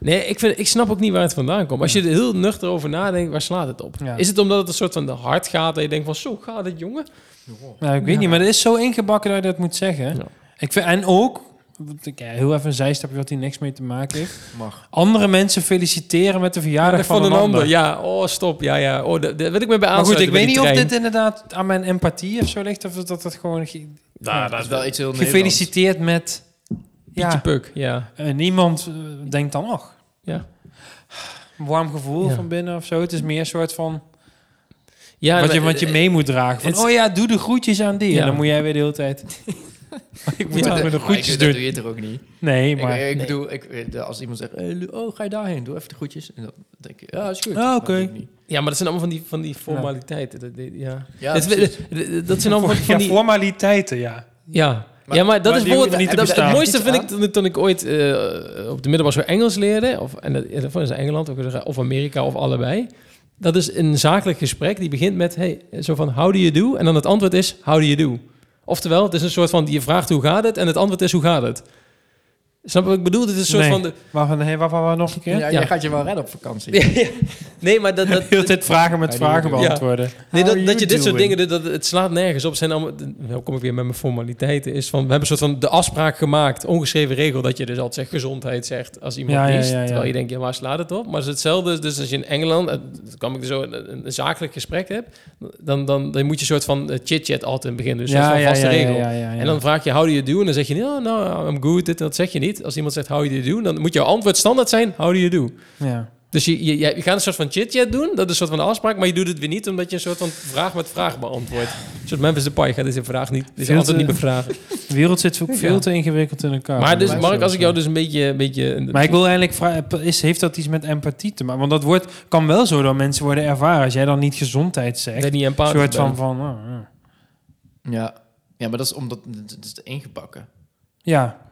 S1: Nee, ik, vind, ik snap ook niet waar het vandaan komt. Als je er heel nuchter over nadenkt, waar slaat het op?
S2: Ja.
S1: Is het omdat het een soort van de hart gaat en je denkt van zo gaat het, jongen?
S2: Nou, ik weet niet, maar dat is zo ingebakken dat je dat moet zeggen.
S1: Ja.
S2: Ik vind, en ook, want ik, ja, heel even een zijstapje wat hier niks mee te maken heeft.
S3: Mag.
S2: Andere mensen feliciteren met de verjaardag van, een ander.
S1: Ja, oh stop, ja, ja. Oh, daar daar wil ik me bij
S2: Maar goed,
S1: aansluiten
S2: ik weet niet
S1: bij
S2: of
S1: die
S2: dit inderdaad aan mijn empathie of zo ligt. Of dat dat gewoon ge-
S1: trein.
S3: Dat is wel iets heel Nederlands.
S2: Ah, gefeliciteerd met...
S1: Pietje
S2: Ja,
S1: Puk, ja.
S2: eh, niemand eh, denkt dan, ach,
S1: Ja,
S2: een warm gevoel
S1: Ja.
S2: van binnen of zo. Het is meer een soort van...
S1: ja
S2: wat, je,
S1: maar- eh,
S2: wat je mee moet dragen. Van,
S1: het-
S2: oh ja, doe de groetjes aan die.
S1: Ja.
S2: En dan moet jij weer de hele tijd... ik moet
S1: Ja,
S2: dat met de
S3: Maar ik-
S2: groetjes
S3: Dat
S2: doen.
S3: doe je toch ook niet?
S2: Nee,
S3: Ik-
S2: maar...
S3: ik,
S1: nee.
S3: bedoel, ik, als iemand zegt, eh, Lu- oh, ga je daarheen? Doe even de groetjes. En dan denk ik, ja, is goed.
S2: Ah,
S3: Maar
S2: oké.
S3: doe ik niet.
S1: Ja, maar dat zijn allemaal van die, van die formaliteiten. Dat, dit- ja.
S3: Ja,
S1: Het-
S3: precies.
S1: dat- dat zijn allemaal van, van
S2: Ja,
S1: die...
S2: formaliteiten, ja.
S1: Ja,
S3: Maar-
S1: ja maar dat
S3: maar
S1: is
S3: die hoeven
S1: bijvoorbeeld-
S2: niet te
S1: dat- het
S2: bestaan.
S1: mooiste
S3: Iets
S1: vind
S3: aan.
S1: ik toen, toen ik ooit eh, op de middelbare school Engels leerde, of, en dat, ja, dat is Engeland, of, eh, of Amerika, of allebei. Dat is een zakelijk gesprek die begint met, hey, zo van, how do you do? En dan het antwoord is, how do you do? Oftewel, het is een soort van, je vraagt hoe gaat het? En het antwoord is, hoe gaat het? Snap je wat ik bedoel? Dit is een soort
S2: Nee.
S1: van... De,
S2: Waarvan, hey, waarvan we nog een keer?
S3: Ja,
S1: Ja.
S3: Jij gaat je wel redden op vakantie.
S1: nee, maar dat, dat,
S2: De hele tijd vragen met
S3: Ja, die
S2: vragen
S3: moet je-
S2: beantwoorden.
S1: Nee,
S2: How
S1: dat,
S2: are
S1: dat je
S2: you
S1: dit soort
S2: doing?
S1: dingen, dat, dat- het slaat nergens op. Het Zijn allemaal, dan kom ik weer met mijn formaliteiten. Is van, we hebben een soort van de afspraak gemaakt, ongeschreven regel, dat je dus altijd zegt gezondheid zegt als iemand
S2: Ja, ja,
S1: liest.
S2: ja, ja.
S1: Terwijl je denkt, ja, waar slaat het op? Maar het is hetzelfde. Dus als je in Engeland, eh, dat kwam ik er zo, een, een- een zakelijk gesprek hebt, dan, dan, dan moet je een soort van eh, chit-chat altijd beginnen. Dus dat is
S2: ja,
S1: een
S2: ja,
S1: vaste
S2: ja,
S1: regel.
S2: ja, ja, ja, ja.
S1: En dan vraag je, how do you do? En dan zeg je, oh, nou, I'm good. Dit, dat zeg je niet. Als iemand zegt, how do you do? Dan moet jouw antwoord standaard zijn, how do you do?
S2: Ja.
S1: Dus je, je, je je gaat een soort van chit-chat doen, dat is een soort van afspraak, maar je doet het weer niet omdat je een soort van vraag met vraag beantwoordt. Een soort Memphis Depay je gaat deze vraag niet, deze
S2: Veel
S1: antwoord
S2: te-
S1: niet bevragen.
S2: De wereld zit ook veel
S1: Ja.
S2: te ingewikkeld in elkaar.
S1: maar dus,
S2: Ja.
S1: Mark, als ik jou dus een beetje... Een beetje
S2: Maar ik wil eigenlijk vragen, is, heeft dat iets met empathie te maken? Want dat wordt, kan wel zo door mensen worden ervaren. Als jij dan niet gezondheid zegt,
S1: ben
S2: een
S1: niet empathisch
S2: soort
S1: ben.
S2: van van... oh, oh.
S3: Ja. ja, maar dat is omdat het is ingebakken.
S2: ja,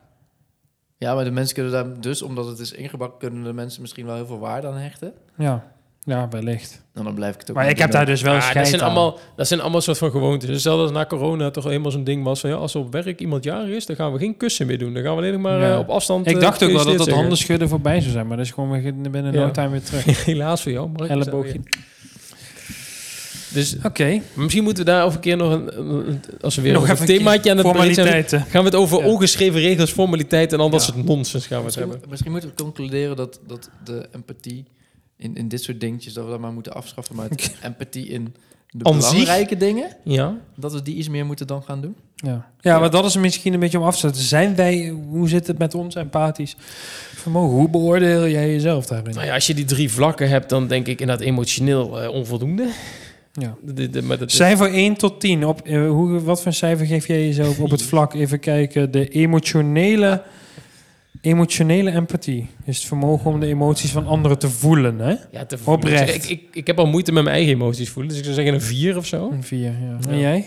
S3: Ja, maar de mensen kunnen daar dus, omdat het is ingebakken, kunnen de mensen misschien wel heel veel waarde aan hechten.
S2: ja, ja, wellicht.
S3: En dan blijf ik het ook
S2: Maar
S3: niet
S2: ik heb
S3: doen.
S2: daar dus wel
S1: Ja, Ah, dat
S2: scheid
S1: zijn,
S2: aan.
S1: allemaal, dat zijn allemaal soort van gewoontes. Dus zelfs als na corona toch eenmaal zo'n ding was van... Ja, als er op werk iemand jarig is, dan gaan we geen kussen meer doen. Dan gaan we alleen maar
S2: Ja.
S1: eh, op afstand...
S2: Ik
S1: eh,
S2: dacht ook wel dat dat
S1: gefeliciteerd
S2: handen schudden voorbij zou zijn. Maar dat is gewoon weer binnen
S1: Ja.
S2: no time weer terug.
S1: zeggen. Helaas voor jou, Mark.
S2: Elleboogje.
S1: Dus
S2: Oké.
S1: maar misschien moeten we daar over een keer nog een... een- een- Als we weer
S2: Nog
S1: over
S2: even
S1: een
S2: een keer
S1: themaatje aan de breed zijn,
S2: Formaliteiten.
S1: Gaan we het over
S3: Ja.
S1: ongeschreven regels, formaliteiten en al dat
S2: Ja.
S1: soort nonsens gaan we het
S2: dus
S3: Misschien,
S1: hebben.
S3: misschien moeten we concluderen dat, dat de empathie in, in dit soort dingetjes, dat we dat maar moeten afschaffen. Maar het empathie in de
S1: Aan zich?
S3: belangrijke dingen,
S1: Ja.
S3: dat we die iets meer moeten dan gaan doen.
S2: Ja. ja, maar dat is misschien een beetje om af te zetten. Zijn wij, hoe zit het met ons empathisch vermogen? Hoe beoordeel jij jezelf daarin?
S1: Nou ja, als je die drie vlakken hebt, dan denk ik inderdaad emotioneel eh, onvoldoende.
S2: Ja.
S1: De, de, maar dat is-
S2: Cijfer 1 tot 10. Op, eh, hoe, wat voor cijfer geef jij jezelf op het vlak? Even kijken. De emotionele, emotionele empathie. Is het vermogen om de emoties van anderen te voelen. Hè?
S1: ja, te voelen.
S2: Oprecht.
S1: Ik, ik, ik heb al moeite met mijn eigen emoties voelen, dus ik zou zeggen een vier of zo.
S2: Een 4. Ja.
S1: Ja.
S2: En jij?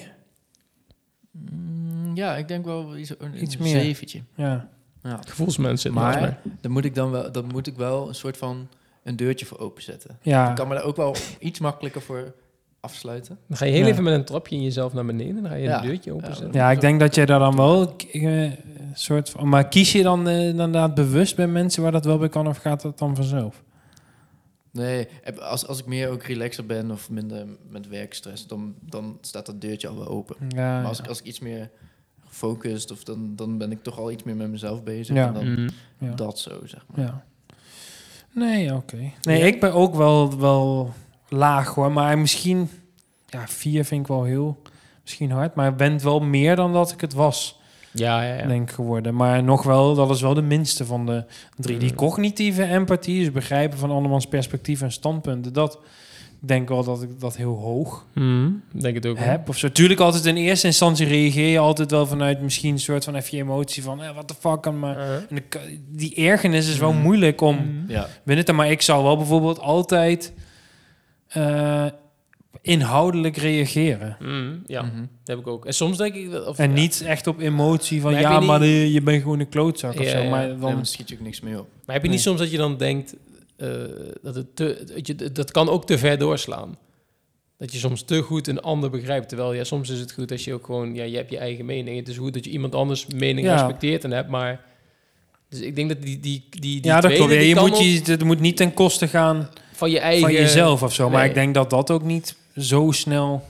S3: Mm, ja, ik denk wel iets, een,
S2: Iets
S3: een
S2: meer.
S3: zeventje.
S2: Ja.
S3: Ja.
S1: Gevoelsmensen. volgens mij.
S3: Maar dan moet ik dan wel, dan moet ik wel een soort van een deurtje voor openzetten. Ik
S2: ja.
S3: kan me daar ook wel iets makkelijker voor afsluiten.
S1: Dan ga je heel
S2: Ja.
S1: even met een trapje in jezelf naar beneden. Dan ga je
S3: Ja.
S1: een deurtje openzetten.
S2: Ja, ik denk dat jij daar dan wel eh, een soort van... Maar kies je dan eh, inderdaad bewust bij mensen waar dat wel bij kan of gaat dat dan vanzelf?
S3: Nee, heb- als, als ik meer ook relaxer ben of minder met werkstress, dan, dan staat dat deurtje al wel open.
S2: Ja,
S3: Maar als ik, als ik iets meer gefocust of dan, dan ben ik toch al iets meer met mezelf bezig.
S2: Ja.
S3: En dan
S1: Mhm.
S2: ja.
S3: dat zo, zeg maar.
S2: Ja. Nee, oké. Nee, ik ben ook wel, wel laag hoor. Maar misschien... Ja, vier vind ik wel heel... Misschien hard. Maar ik ben het wel meer dan dat ik het was.
S1: Ja, ja, ja.
S2: denk ik, geworden. Maar nog wel, dat is wel de minste van de drie. Die cognitieve empathie, dus begrijpen van andermans perspectief en standpunten. Dat ik denk wel dat ik dat heel hoog
S1: Hmm, denk het ook. wel.
S2: heb. Of zo. Tuurlijk altijd in eerste instantie reageer je altijd wel vanuit misschien een soort van even je emotie van, eh, what the fuck, en maar...
S1: Eh.
S2: en de- die ergernis is wel moeilijk om
S1: Mm.
S3: Ja.
S2: binnen te... Maar ik zou wel bijvoorbeeld altijd eh, inhoudelijk reageren.
S1: Hmm, ja,
S3: Mhm.
S1: dat heb ik ook. En soms denk ik... dat- Of,
S2: Mm. En
S1: ja.
S2: niet echt op emotie van,
S1: Maar heb
S2: ja,
S1: je niet-
S2: maar eh, je bent gewoon een klootzak of
S1: Ja,
S2: zo.
S1: ja.
S2: Maar
S1: Nee,
S2: dan...
S3: Nee, dan schiet je ook niks mee op.
S1: Maar heb je niet soms dat je dan denkt... eh, dat, het te, dat, je, dat kan ook te ver doorslaan. Dat je soms te goed een ander begrijpt. Terwijl ja, soms is het goed als je ook gewoon... Ja, je hebt je eigen mening. Het is goed dat je iemand anders mening
S2: Ja.
S1: respecteert en hebt. Maar... Dus ik denk dat die, die, die, die
S2: ja, dat
S1: tweede,
S2: klopt. Ja,
S1: die
S2: je
S1: kan
S2: moet,
S1: ook
S2: je, het moet niet ten koste gaan
S1: van je eigen...
S2: van jezelf of zo. Maar
S1: nee.
S2: ik denk dat dat ook niet zo snel,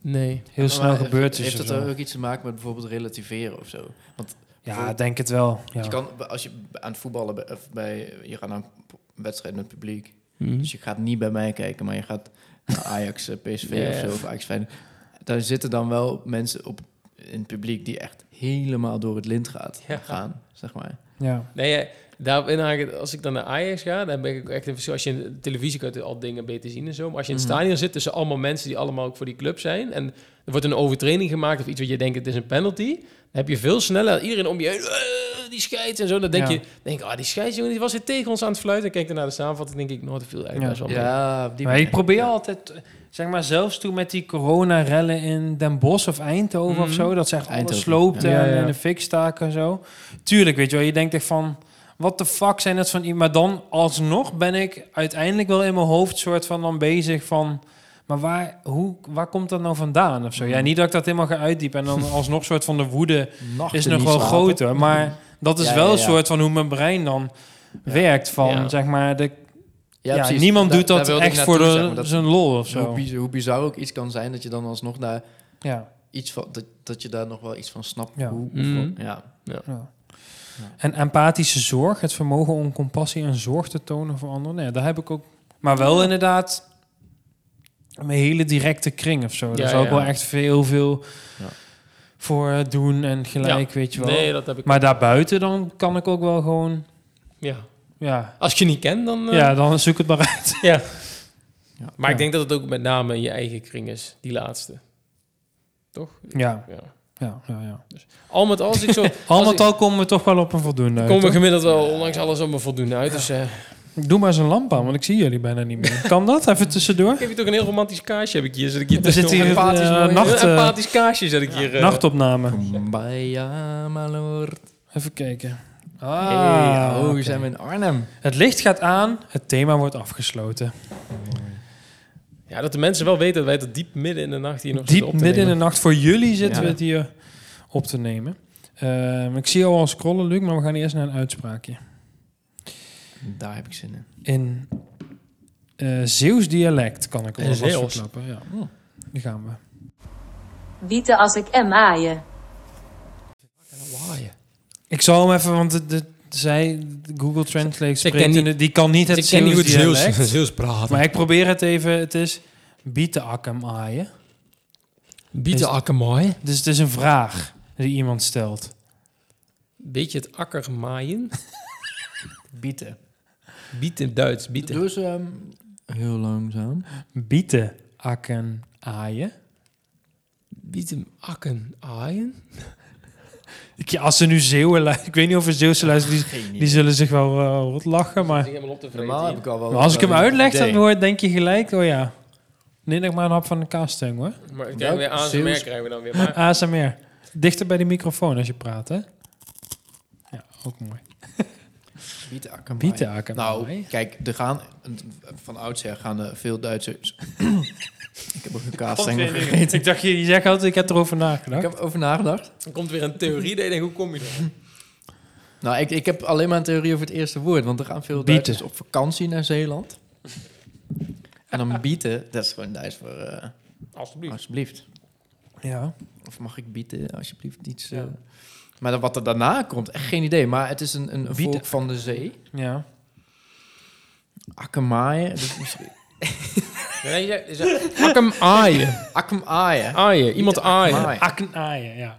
S1: Nee.
S2: heel
S3: Maar eh,
S2: snel gebeurt. Is
S3: Heeft
S2: of
S3: dat
S2: zo.
S3: ook iets te maken met bijvoorbeeld relativeren of zo?
S2: ja, ik denk het wel. Ja.
S3: Je kan, als je aan het voetballen bent, of bij, je gaat naar een wedstrijd met het publiek.
S2: Hm. Hmm.
S3: Dus je gaat niet bij mij kijken, maar je gaat naar Ajax, eh, PSV
S1: Ja,
S3: of zo,
S1: ja.
S3: of Ajax Feyenoord. Daar zitten dan wel mensen op in het publiek die echt helemaal door het lint gaat,
S1: Ja.
S3: gaan, zeg maar.
S2: Ja.
S1: Nee, eh, ja, daarin haak- als ik dan naar Ajax ga, dan ben ik ook echt een verschil. Als je in de televisie kan je al dingen beter zien en zo. Maar als je in het
S3: Mhm.
S1: stadion zit tussen allemaal mensen die allemaal ook voor die club zijn. En er wordt een overtreding gemaakt of iets wat je denkt, het is een penalty. Dan heb je veel sneller iedereen om je heen. "Eh, Die scheids en zo. Dan denk
S2: Ja.
S1: je, denk, ik, ah, die scheids, jongen, die was hier tegen ons aan het fluiten. En kijk dan naar de samenvatting, denk ik, nooit veel eigenlijk
S2: Ja.
S1: best wel mee.
S3: Ja, op die
S2: Maar ik
S3: manier.
S2: probeer
S3: Ja.
S2: altijd, eh, zeg maar, zelfs toen met die coronarellen in Den Bosch of Eindhoven of
S1: Mhm.
S2: zo, dat ze echt
S3: Eindhoven,
S2: alles sloopten
S1: ja. Ja,
S2: en
S1: ja.
S2: in de fik staken en zo. Tuurlijk, weet je wel, je denkt echt van, wat de fuck zijn dat van i- Maar dan alsnog ben ik uiteindelijk wel in mijn hoofd soort van dan bezig van, maar waar, hoe, waar komt dat nou vandaan of zo? Ja, niet dat ik dat helemaal ga uitdiepen en dan alsnog soort van de woede
S3: Nachten
S2: is nog
S3: niet
S2: wel
S3: slapen.
S2: groter, maar dat is
S3: Ja,
S2: wel
S3: ja,
S2: een
S3: ja.
S2: soort van hoe mijn brein dan werkt van,
S1: Ja.
S2: zeg maar, de ja,
S3: precies.
S2: niemand
S3: Daar-
S2: doet
S3: daar
S2: dat
S3: wilde ik
S2: echt voor de,
S3: naartoe, zeg maar. Dat-
S2: zijn lol of
S3: Hoe,
S2: zo.
S3: bizar, hoe bizar ook iets kan zijn, dat je dan alsnog daar
S2: Ja.
S3: iets van, dat, dat je daar nog wel iets van snapt.
S2: Ja. Mm.
S3: Hoe,
S1: Mhm.
S3: hoe- ja.
S2: ja. En empathische zorg, het vermogen om compassie en zorg te tonen voor anderen. Nee, daar heb ik ook. Maar wel inderdaad een hele directe kring of zo. Daar
S1: Ja,
S2: zou ik
S1: ja,
S2: wel
S1: ja.
S2: echt veel, veel
S3: Ja.
S2: voor eh, doen en gelijk, weet je wel.
S1: Nee, dat heb ik.
S2: Maar daarbuiten dan kan ik ook wel gewoon,
S1: ja.
S2: ja,
S1: Als ik je niet kent, dan... eh,
S2: ja dan zoek het maar uit.
S1: ja. Maar
S2: Ja.
S1: ik denk dat het ook met name in je eigen kring is, die laatste. Toch?
S2: Ja,
S1: Ja.
S2: ja, ja. ja.
S1: Al met al, als ik zo...
S2: Al
S1: als ik-
S2: met al komen we toch wel op een voldoende uit,
S1: Komen
S2: hoor.
S1: we gemiddeld wel, ondanks alles, allemaal voldoende uit. Dus eh,
S2: Ik Doe maar eens een lamp aan, want ik zie jullie bijna niet meer. Kan dat? Even tussendoor.
S1: ik heb hier toch een heel romantisch kaarsje, heb ik hier. Zet ik hier
S2: Er zit
S1: tussendoor.
S2: hier
S1: Een
S2: eh,
S1: heel
S2: nacht, eh,
S1: empathisch kaarsje zet ik hier. eh.
S2: nachtopname.
S3: Kumbaya, my lord.
S2: Even kijken. Ah,
S3: Hey, oh,
S2: oké.
S3: zijn we in Arnhem.
S2: Het licht gaat aan, het thema wordt afgesloten.
S1: Ja, dat de mensen wel weten dat wij tot diep midden in de nacht hier nog
S2: Diep midden in de nacht voor jullie zitten
S3: Ja.
S2: we het hier op te nemen. Ehm, ik zie jou al scrollen, Luc, maar we gaan eerst naar een uitspraakje.
S3: Daar heb ik zin in.
S2: In eh Zeeuws dialect kan ik
S1: In
S2: wel
S1: Zeeuws?
S2: verklappen. Ja.
S3: Oh.
S2: Daar gaan we.
S4: Wieten als ik en maaien.
S2: Ik zal hem even, want de, de- zij, Google Translate
S1: Ze ken
S2: spreekt, in
S1: niet-
S2: de- die kan niet het
S1: Ik ken niet
S2: Zeeuws
S1: hoe het
S2: dialect.
S1: Zeeuws, Zeeuws praten.
S2: Maar ik probeer het even. Het is bietenakkem aaien.
S1: Bieten akkermaaien.
S2: Dus het is een vraag die iemand stelt.
S1: Beetje het akkermaaien.
S3: Bieten.
S1: Bieten Duits, bieten.
S3: Dus ehm, heel langzaam.
S2: Bietenakken aaien.
S1: Bieten akken aaien.
S2: Ik, ja, als ze nu Zeeuwen lu- Ik weet niet of er Zeeuwse luisteren. Die,
S3: Geen
S2: die zullen zich wel eh, rot lachen. Maar,
S1: helemaal op te
S3: Normaal heb ik al wel...
S2: maar als ik hem
S3: wel een
S2: uitleg, dan
S3: idee.
S2: hoor, denk je gelijk... Oh ja, neem nog maar een hap van de kaassteng hoor.
S1: Maar ik krijg weer aan zijn
S3: Zeeuws-
S1: merk krijgen we dan weer. Maar
S2: ASMR. Dichter bij de microfoon als je praat, hè? Ja, ook mooi.
S3: Bieten, akkermaaien.
S2: Bietenakken
S3: Nou,
S2: aaien.
S3: kijk, er gaan van oudsher gaan er veel Duitsers. ik heb ook een kaasstengel gegeten.
S2: Ik dacht, je je zegt altijd, ik heb erover
S3: Ik
S2: nagedacht.
S3: heb over nagedacht.
S1: er komt weer een theorie. Dat je denkt, hoe kom je daar?
S3: Nou, ik, ik heb alleen maar een theorie over het eerste woord. Want er gaan veel
S2: Bieten.
S3: Duitsers op vakantie naar Zeeland. En dan bieten, dat is gewoon Duits voor eh,
S1: Alsjeblieft.
S3: alsjeblieft.
S2: Ja.
S3: Of mag ik bieten, alsjeblieft, iets. eh.
S2: Ja.
S3: Maar dan, wat er daarna komt, echt geen idee. Maar het is een, een
S2: Bieten.
S3: volk van de zee.
S2: Ja.
S3: Akkermaaien. Dus misschien-
S1: Nee, je zegt, akken aaien.
S3: Akkermaaien.
S1: Aaien, iemand aaien.
S3: Akkermaaien.
S2: Akkenaaien, ja.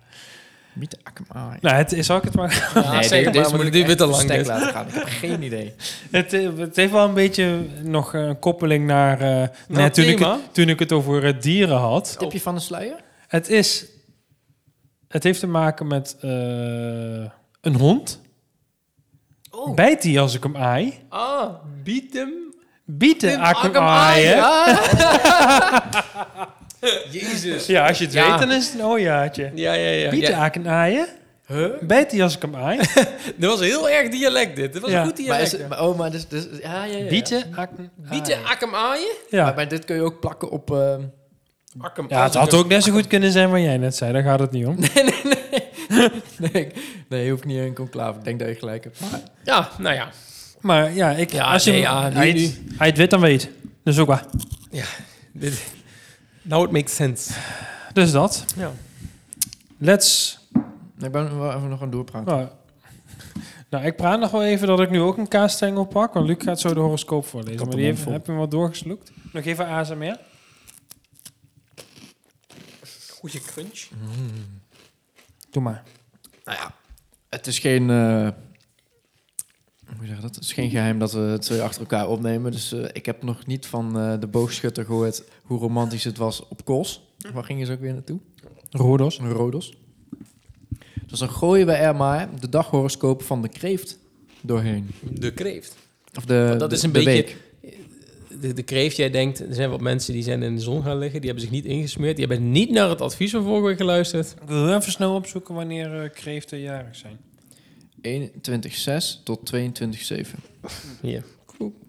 S3: Miete Akkermaai.
S2: Nou, het, zal ik het maar
S1: Ja, zeker, maar we duwen het te lang,
S3: stek
S1: dit.
S3: laten gaan. Ik heb geen idee.
S2: Het, eh, het heeft wel een beetje nog eh, een koppeling naar eh, net
S1: het
S2: toen, ik
S1: thema?
S2: het, toen ik het over eh, dieren had.
S3: Tipje van de sluier?
S2: Het is. Het heeft te maken met eh, een hond.
S1: Oh.
S2: Bijt die als ik hem aai?
S1: Ah, bied hem. Bieten,
S2: Bieten ik hem
S1: ak hem aaien.
S2: aaien?
S1: Jezus.
S2: Ja, als je het
S1: Ja.
S2: weet, dan is het een ojaatje.
S1: Ja, ja, ja.
S2: Bieten
S1: ja.
S2: ik hem aaien?
S1: Huh?
S2: Bijt die als ik hem aai?
S1: Dit was heel erg dialect, dit. Dit was
S2: Ja.
S1: een goed
S3: Maar is
S1: dialect.
S3: het, maar, oh, maar dus, dus, ja, ja, ja. ja.
S2: Bieten ik hem
S1: Bieten,
S2: aaien.
S1: ak hem aaien.
S2: Ah, Ja.
S3: Maar, maar dit kun je ook plakken op... eh,
S1: Ak hem
S2: Ja, het had
S1: aaien.
S2: ook net zo goed kunnen zijn wat jij net zei. Daar gaat het niet om.
S3: nee, ik- nee, je hoeft niet in een conclave. Ik denk dat je gelijk hebt. Maar,
S1: Ja, nou ja.
S2: Maar ja, ik,
S1: Ja,
S2: als je
S1: nee,
S2: hem-
S1: ja,
S2: hij,
S1: nu-
S2: het, hij het weet, dan weet. Dus ook waar.
S1: Dit, now it makes sense.
S2: Dus dat.
S1: Ja.
S2: Let's...
S3: ik ben wel even nog aan het doorpraten.
S2: Nou, nou, ik praat nog wel even dat ik nu ook een kaasstengel pak. Want Luc gaat zo de horoscoop voorlezen.
S3: heb
S2: maar
S3: hem
S2: die heeft,
S3: mondvol.
S2: heb je hem wat doorgesloekt. Nog even ASMR.
S1: Goeie crunch.
S2: Doe maar.
S3: Nou ja, het is geen... eh, hoe zeg je dat? Het is geen geheim dat we het twee achter elkaar opnemen. Dus eh, ik heb nog niet van eh, de boogschutter gehoord hoe romantisch het was op Kos. Waar gingen ze ook weer naartoe?
S2: Rodos.
S3: Een Rodos. Dus dan gooien we er maar de daghoroscoop van de kreeft doorheen.
S1: De kreeft.
S3: Of de,
S1: Want dat is een
S3: Eh, de
S1: beetje-
S3: week.
S1: De, de kreeft, jij denkt, er zijn wat mensen die zijn in de zon gaan liggen. Die hebben zich niet ingesmeerd. Die hebben niet naar het advies van vorige week geluisterd.
S2: Ik wil even snel opzoeken wanneer eh, kreeften jarig zijn.
S3: 21,6 tot 22,7.
S1: Hier. Cool.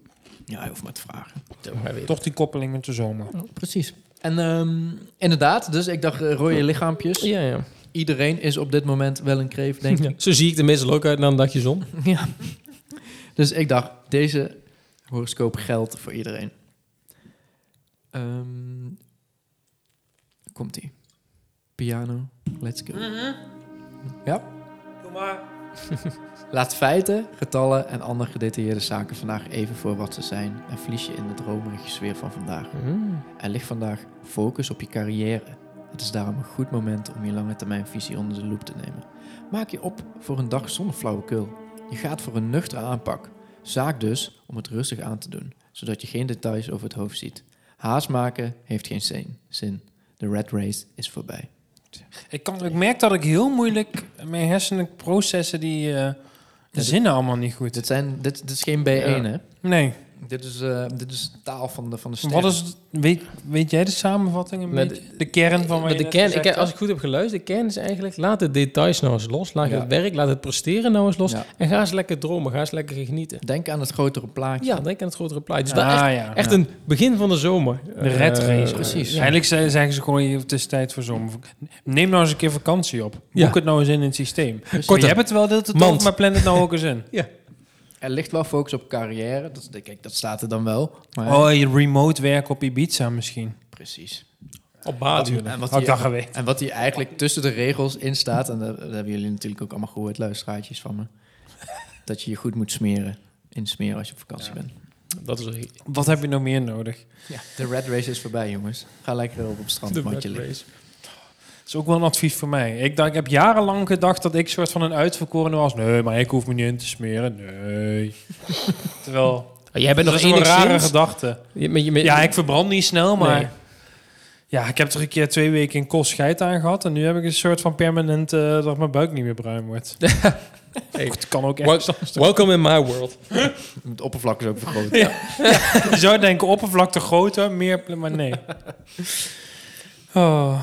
S3: Ja, je hoeft maar te vragen.
S1: Maar weer.
S2: Toch die koppeling met de zomer.
S3: Precies. En ehm, inderdaad, dus ik dacht eh, rode
S2: dus.
S3: lichaampjes.
S1: Ja, ja.
S3: Iedereen is op dit moment wel een kreeft, denk
S1: Ja.
S3: ik.
S1: Zo zie ik de meestal ook uit na een dagje zon.
S3: ja. Dus ik dacht, deze horoscoop geldt voor iedereen. Ehm, Komt-ie. Piano, let's go. Ja?
S2: Mhm. Doe maar.
S3: Laat feiten, getallen en andere gedetailleerde zaken vandaag even voor wat ze zijn en vlies je in de dromerige sfeer van vandaag.
S2: Mm.
S3: Er ligt vandaag focus op je carrière. Het is daarom een goed moment om je lange termijn visie onder de loep te nemen. Maak je op voor een dag zonder flauwekul. Je gaat voor een nuchtere aanpak. Zaak dus om het rustig aan te doen, zodat je geen details over het hoofd ziet. Haast maken heeft geen zin. zin. De red race is voorbij.
S2: Ik, kan, ik merk dat ik heel moeilijk mijn hersenen processen die eh, de
S3: dit-
S2: zinnen allemaal niet goed.
S3: Dit, zijn, dit, dit is geen B1,
S1: Ja.
S3: hè?
S2: Nee.
S3: Dit is, eh, dit is taal van de, van de
S2: Wat
S3: sterren.
S2: is, weet, weet jij de samenvatting een
S1: Met-
S2: beetje? De kern van wat
S1: Maar
S2: je
S1: de
S2: net
S1: kern,
S2: gezegd
S1: ik, als
S2: hebt?
S1: ik goed heb geluisterd, de kern is eigenlijk... laat de details nou eens los. Laat
S3: Ja.
S1: het werk, laat het presteren nou eens los.
S3: Ja.
S1: En ga eens lekker dromen, ga eens lekker genieten.
S3: Denk aan het grotere plaatje.
S1: Ja, denk aan het grotere plaatje. Dus dat
S2: Ah,
S1: echt,
S2: ja.
S1: echt een begin van de zomer.
S2: De red
S1: Eh,
S2: race.
S3: precies.
S1: ja.
S2: Eigenlijk ze- zeggen ze gewoon, het is tijd voor zomervakantie. Neem nou eens een keer vakantie op. Boek
S1: Ja.
S2: het nou eens in het systeem. Maar
S1: Korter.
S2: je hebt het wel de hele tijd
S1: Mand.
S2: over, maar plan het nou ook eens in.
S3: Er ligt wel focus op carrière. Dat, kijk, dat staat er dan wel. Maar
S2: Oh, je remote werken op Ibiza misschien.
S3: Precies.
S1: Op baat,
S3: En wat,
S2: Had Oh, ik dat
S3: hier,
S2: geweten.
S3: en wat hier eigenlijk tussen de regels in staat... en dat, dat hebben jullie natuurlijk ook allemaal gehoord, luisteraartjes van me... dat je je goed moet smeren. Insmeren als je op vakantie bent.
S1: Dat is een
S2: Wat heb je nog meer nodig?
S3: De red race is voorbij, jongens. Ga lekker op het
S2: Oh,
S1: de
S3: strandmatje
S1: red
S3: liggen.
S1: race.
S2: Dat is ook wel een advies voor mij. Ik, dacht, ik heb jarenlang gedacht dat ik soort van een uitverkorene was. Nee, maar ik hoef me niet in te smeren. Nee. Terwijl,
S1: Ah, Jij
S2: dat
S1: bent nog
S2: is een
S1: enigszins...
S2: rare gedachte.
S1: Je- met je- met-
S2: Ja, ik verbrand niet snel, maar...
S1: Nee.
S2: Ja, ik heb er een keer twee weken in kost scheid aan gehad. En nu heb ik een soort van permanent eh, dat mijn buik niet meer bruin wordt.
S1: Hey.
S2: Het kan ook echt.
S1: Wel- Welcome in my world.
S3: Het oppervlak is ook vergroot.
S2: Je zou denken, oppervlakte groter, meer... ple- Maar nee. Oh.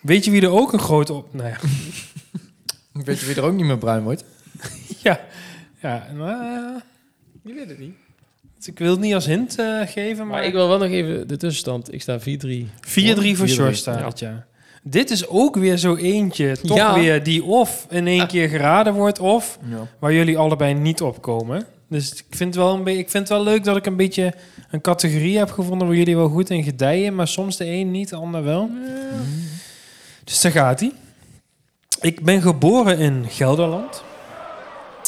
S2: Weet je wie er ook een grote op... Nou ja.
S3: Weet je wie er ook niet meer bruin wordt?
S2: Ja, ja nou,
S1: Je weet het niet.
S2: eh, ik wil het niet als hint eh, geven, maar...
S1: Maar ik wil wel nog even de tussenstand. Ik sta 4-3.
S2: 4-3 voor
S3: 4-3,
S2: George staat, ja. Dit is ook weer zo eentje, toch
S1: Ja.
S2: weer, die of in één keer geraden wordt, of
S3: Ja.
S2: waar jullie allebei niet op komen. Dus ik vind, wel een be- ik vind het wel leuk dat ik een beetje een categorie heb gevonden waar jullie wel goed in gedijen, maar soms de een niet, de ander wel. Dus daar gaat hij. Ik ben geboren in Gelderland.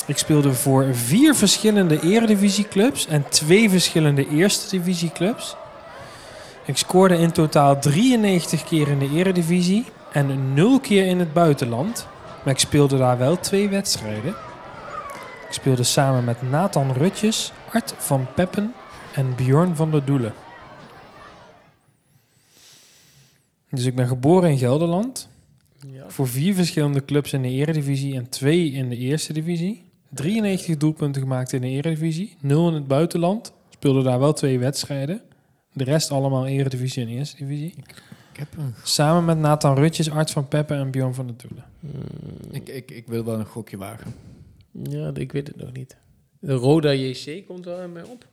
S2: Ik speelde voor vier verschillende eredivisieclubs en twee verschillende eerste divisieclubs. Ik scoorde in totaal 93 keer in de eredivisie En nul keer in het buitenland. Maar ik speelde daar wel twee wedstrijden. Ik speelde samen met Nathan Rutjes, Art van Peppen en Bjorn van der Doelen. Dus ik ben geboren in Gelderland.
S1: Ja.
S2: Voor vier verschillende clubs in de Eredivisie en twee in de Eerste Divisie. 93 doelpunten gemaakt in de Eredivisie. Nul in het buitenland. Speelde daar wel twee wedstrijden. De rest allemaal Eredivisie en Eerste Divisie.
S3: Ik, heb een,
S2: Samen met Nathan Rutjes, Art van Peppen en Bjorn van der Doelen.
S1: Hmm,
S3: ik, ik, ik wil wel een gokje wagen.
S1: ja, ik weet het nog niet. De Roda JC komt wel in mij op.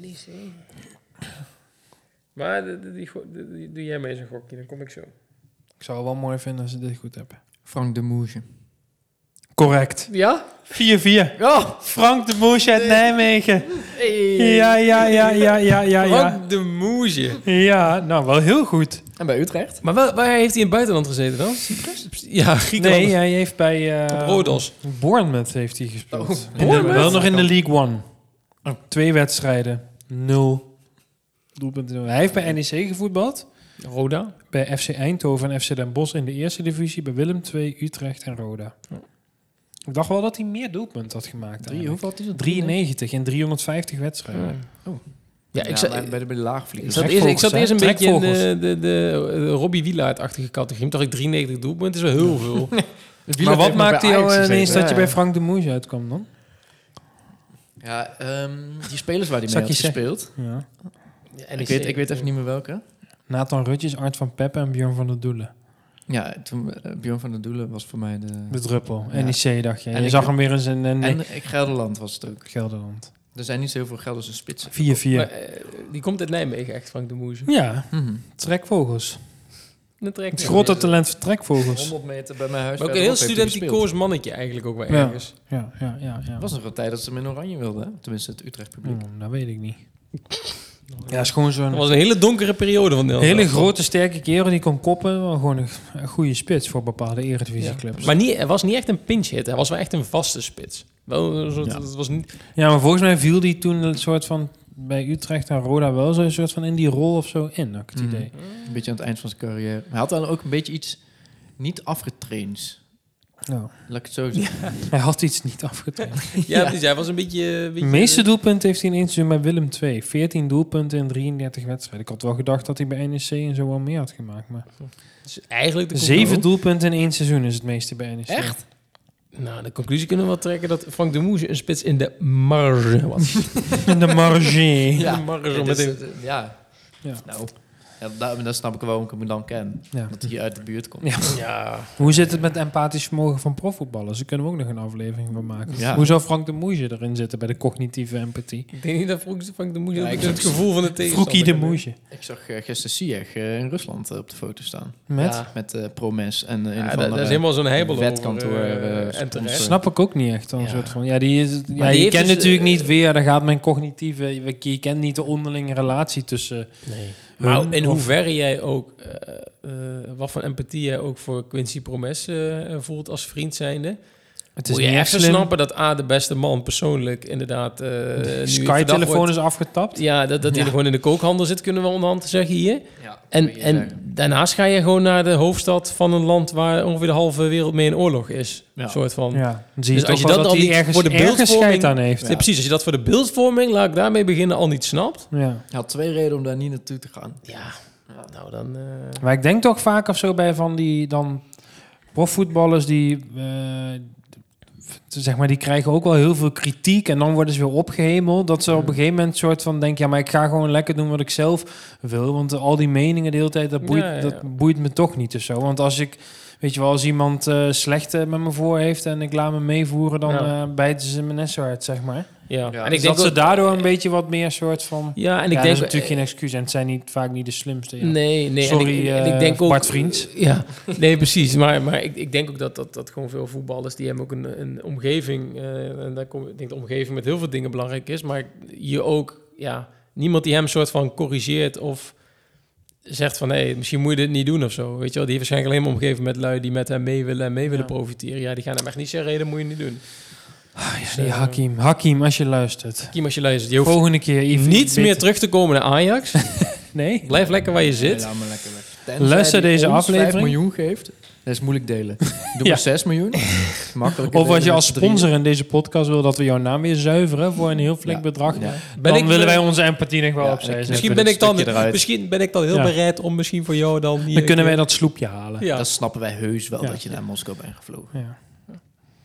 S1: NEC. Maar de- de- die, go- de- die- doe jij mee eens een gokje, dan kom ik zo.
S2: Ik zou het wel mooi vinden als ze dit goed hebben.
S3: Frank de Moesje.
S2: Correct.
S1: Ja?
S2: 4-4.
S3: Ja!
S2: Frank de Moesje uit Nijmegen.
S1: Hey.
S2: Ja, ja, ja, ja, ja, ja, ja.
S1: de moesje.
S2: Ja, nou wel heel goed.
S3: En bij Utrecht?
S1: Maar waar, waar heeft hij in het buitenland gezeten dan? Ja, Griekenland.
S2: Nee, hij heeft bij... eh
S1: Rodos.
S2: Bournemouth heeft hij gespeeld.
S3: Oh,
S2: In de-
S1: Bournemouth?
S2: wel nog in de League One. Twee wedstrijden. Nul. Doelpunten. nul. Hij heeft bij NEC gevoetbald.
S1: Roda.
S2: Bij FC Eindhoven en FC Den Bosch in de eerste divisie. Bij Willem II, Utrecht en Roda. Ik dacht wel dat hij meer doelpunten had gemaakt.
S3: Drie,
S2: eigenlijk.
S3: hoeveel had hij er?
S2: 93 in 350 wedstrijden.
S1: Oh. Ja, ik zat,
S3: bij, bij de bij de laagvliegers.
S1: ik zat eerst, ik zat eerst een beetje in
S2: Trekvogels,
S1: de,
S2: hè?
S1: de, de, de Robbie Wielaert-achtige categorie. Toen dacht ik 93 doelpunten, is wel heel veel.
S2: Maar wat maakte
S3: maakt
S2: jou ineens dat
S3: ja,
S2: je bij
S3: ja.
S2: Frank de Moes uitkwam dan?
S3: Ja, ehm, die spelers waar hij
S2: Zal
S3: mee
S2: ik
S3: had
S2: je zeggen?
S3: gespeeld.
S2: Ja.
S1: en
S3: ik, weet, ik weet even niet meer welke.
S2: Nathan Rutjes, Art van Peppen en Björn van der Doelen.
S3: Ja, toen eh, Bjorn van der Doelen was voor mij de...
S2: De druppel.
S3: Ja.
S2: NEC dacht je. En
S3: En
S2: je
S3: ik-
S2: zag hem weer eens in een
S3: En ik Gelderland was het ook.
S2: Gelderland.
S3: Er zijn niet zo heel veel Gelderse spitsen.
S2: 4-4.
S1: Maar, eh, die komt uit Nijmegen, echt, Frank de Moes.
S2: Ja,
S3: Mhm.
S2: trekvogels.
S1: Dat trekt
S2: Het
S1: wel.
S2: grote talent voor trekvogels.
S3: 100 meter bij mijn huis.
S1: Maar ook een heel
S3: verderop heeft hij gespeeld.
S1: studenticoos mannetje eigenlijk ook wel
S2: Ja.
S1: ergens.
S2: Ja, ja, ja. ja.
S3: Het was nog een tijd dat ze hem in oranje wilden. hè? Tenminste, het Utrecht publiek.
S2: Hmm, dat weet ik niet. Ja, is gewoon
S1: Dat
S2: zo'n
S1: was een hele donkere periode van Nederland.
S2: hele grote, sterke kerel die kon koppen. Wel Gewoon een, een goede spits voor bepaalde eredivisieclubs. Ja.
S1: Maar niet, hij was niet echt een pinch hit. Hij was wel echt een vaste spits. Wel, een soort,
S3: Ja.
S1: het was niet,
S2: maar volgens mij viel die toen een soort van bij Utrecht en Roda wel zo'n soort van in die rol of zo in, had ik het
S3: Mhm.
S2: idee.
S3: Een beetje aan het eind van zijn carrière. Maar Hij had dan ook een beetje iets niet afgetraind.
S2: Nou,
S3: Laat ik het zo zeggen.
S2: hij had iets niet afgetraind.
S1: ja, precies, hij was een beetje... een
S2: De
S1: beetje-
S2: meeste doelpunten heeft hij in één seizoen bij Willem II. 14 doelpunten in 33 wedstrijden. Ik had wel gedacht dat hij bij NEC en zo wel meer had gemaakt. Maar
S1: dus eigenlijk de
S2: zeven
S1: conclusie-
S2: doelpunten in één seizoen is het meeste bij E NEC.
S1: Echt? Nou, de conclusie kunnen we wel trekken dat Frank de Moes een spits in de marge was.
S2: In de marge.
S1: Ja,
S3: Ja,
S1: Marge
S3: Ja,
S1: zo
S3: dus,
S1: meteen.
S3: eh, ja.
S2: Ja.
S3: Nou, ja, daar, daar snap ik waarom ik hem dan ken.
S2: Ja.
S3: Dat hij uit de buurt komt.
S2: Ja.
S1: Ja,
S2: Hoe zit het met empathisch vermogen van profvoetballers? Daar kunnen we ook nog een aflevering van maken.
S3: Ja.
S2: Hoe zou Frank de Moesje erin zitten bij de cognitieve empathie?
S1: ik denk niet dat Frank Frank de Moes
S3: Ja,
S1: dat
S3: ik
S1: is het
S3: zou-
S1: gevoel van de tegenstander...
S2: Vroekie de Moesje.
S3: Ik zag eh, gisteren Sieg eh, in Rusland eh, op de foto staan.
S2: Met?
S1: Ja.
S3: Met eh Promes en eh, een
S1: Ja,
S3: of
S1: dat, dat
S3: andere-
S1: is helemaal zo'n heibel over,
S3: wetkantoor,
S1: eh,
S3: eh,
S1: en
S3: sponsor.
S1: terecht.
S2: Snap ik ook niet echt. Dan
S1: Ja.
S2: soort van, ja, die is, ja,
S1: die
S2: je
S1: heeft
S2: kent
S1: dus,
S2: natuurlijk
S1: eh,
S2: niet weer, daar gaat mijn cognitieve... Je, je kent niet de onderlinge relatie tussen...
S1: Nee. Maar
S2: Hun
S1: in
S2: of-
S1: hoeverre jij ook, eh, eh, wat voor empathie jij ook voor Quincy Promes eh, voelt als vriend zijnde,
S2: Het
S1: moet je
S2: echt
S1: echt
S2: slim.
S1: snappen dat A, de beste man persoonlijk inderdaad... eh, nu
S2: De
S1: verdacht
S2: Sky-telefoon
S1: wordt-
S2: is afgetapt.
S1: Ja, dat, dat hij
S2: Ja.
S1: er gewoon in de kookhandel zit, kunnen we onderhand zeggen hier.
S3: Ja,
S1: En,
S3: moet je
S1: en
S3: zeggen.
S1: daarnaast ga je gewoon naar de hoofdstad van een land waar ongeveer de halve wereld mee in oorlog is.
S3: Ja.
S1: soort van.
S2: Ja, dan zie
S1: Dus
S2: je toch
S1: als je
S2: wel
S1: dat
S2: dat
S1: al
S2: hij
S1: niet
S2: ergens,
S1: voor de
S2: ergens
S1: beeldvorming-
S2: scheid aan heeft.
S1: Ja, Precies, als je dat voor de beeldvorming, laat ik daarmee beginnen, al niet snapt.
S2: Ja.
S3: Hij had twee redenen om daar niet naartoe te gaan.
S1: Ja, nou dan... eh,
S2: Maar ik denk toch vaak of zo bij van die dan profvoetballers die eh, zeg maar die krijgen ook wel heel veel kritiek en dan worden ze weer opgehemeld dat ze op een gegeven moment soort van denken ja maar ik ga gewoon lekker doen wat ik zelf wil want al die meningen de hele tijd dat boeit
S1: Ja, ja, ja.
S2: dat boeit me toch niet of zo want als ik weet je wel als iemand eh slecht eh, met me voor heeft en ik laat me meevoeren dan
S1: Ja.
S2: eh, bijten ze mijn nesso uit zeg maar
S1: ja.
S3: Ja,
S1: en ik
S2: dus
S1: denk
S2: dat ze
S1: dat...
S2: daardoor een beetje wat meer soort van
S1: Ja, en ik
S2: ja, dat
S1: denk...
S2: is natuurlijk geen excuus en het zijn niet vaak niet de slimste ja.
S1: Nee, nee. en
S2: Sorry,
S1: ik, en ik
S2: eh,
S1: denk ook,
S2: Bart Vriends.
S1: Ja, nee, precies. Maar, maar ik, ik denk ook dat, dat, dat gewoon veel voetballers... die hebben ook een, een omgeving... eh, en daar kom, ik denk de omgeving met heel veel dingen belangrijk is. Maar je ook... Ja, niemand die hem soort van corrigeert of zegt van... hé, hey, misschien moet je dit niet doen of zo. Weet je wel, die heeft waarschijnlijk alleen maar omgeven met lui... die met hem mee willen en mee willen
S2: Ja.
S1: profiteren. Ja, die gaan hem echt niet zeggen... hé, dat moet je niet doen.
S2: Ah, ja, die Hakim Hakim als je luistert
S1: Kim, als Dus, eh, je luistert, je hoeft
S2: Volgende keer Yves.
S1: niet
S2: Bitter.
S1: meer terug te komen naar Ajax.
S2: Nee?
S1: Blijf lekker waar je zit.
S3: Ja, maar lekker, lekker.
S2: Luister
S3: die
S2: deze
S3: ons
S2: aflevering.
S3: 5 miljoen geeft. Dat is moeilijk delen. Doe
S2: Ja.
S3: maar 6 miljoen. Makkelijk.
S2: Of als je als sponsor in deze podcast wil dat we jouw naam weer zuiveren voor een heel flink
S3: Ja.
S2: bedrag,
S3: Ja.
S1: Ben
S2: dan
S1: ik-
S2: willen wij onze empathie nog wel
S3: Ja,
S2: opzij
S3: ik-
S2: zetten.
S1: Misschien
S3: Even
S1: ben,
S3: een
S1: ik dan,
S3: stukje eruit.
S1: misschien ben ik dan heel
S2: Ja.
S1: bereid om misschien voor jou dan... hier
S2: Dan kunnen wij
S1: een
S2: dat sloepje halen.
S1: keer- Ja.
S3: Dat snappen wij heus wel
S2: Ja.
S3: dat je naar Moskou bent gevlogen.
S2: Ja.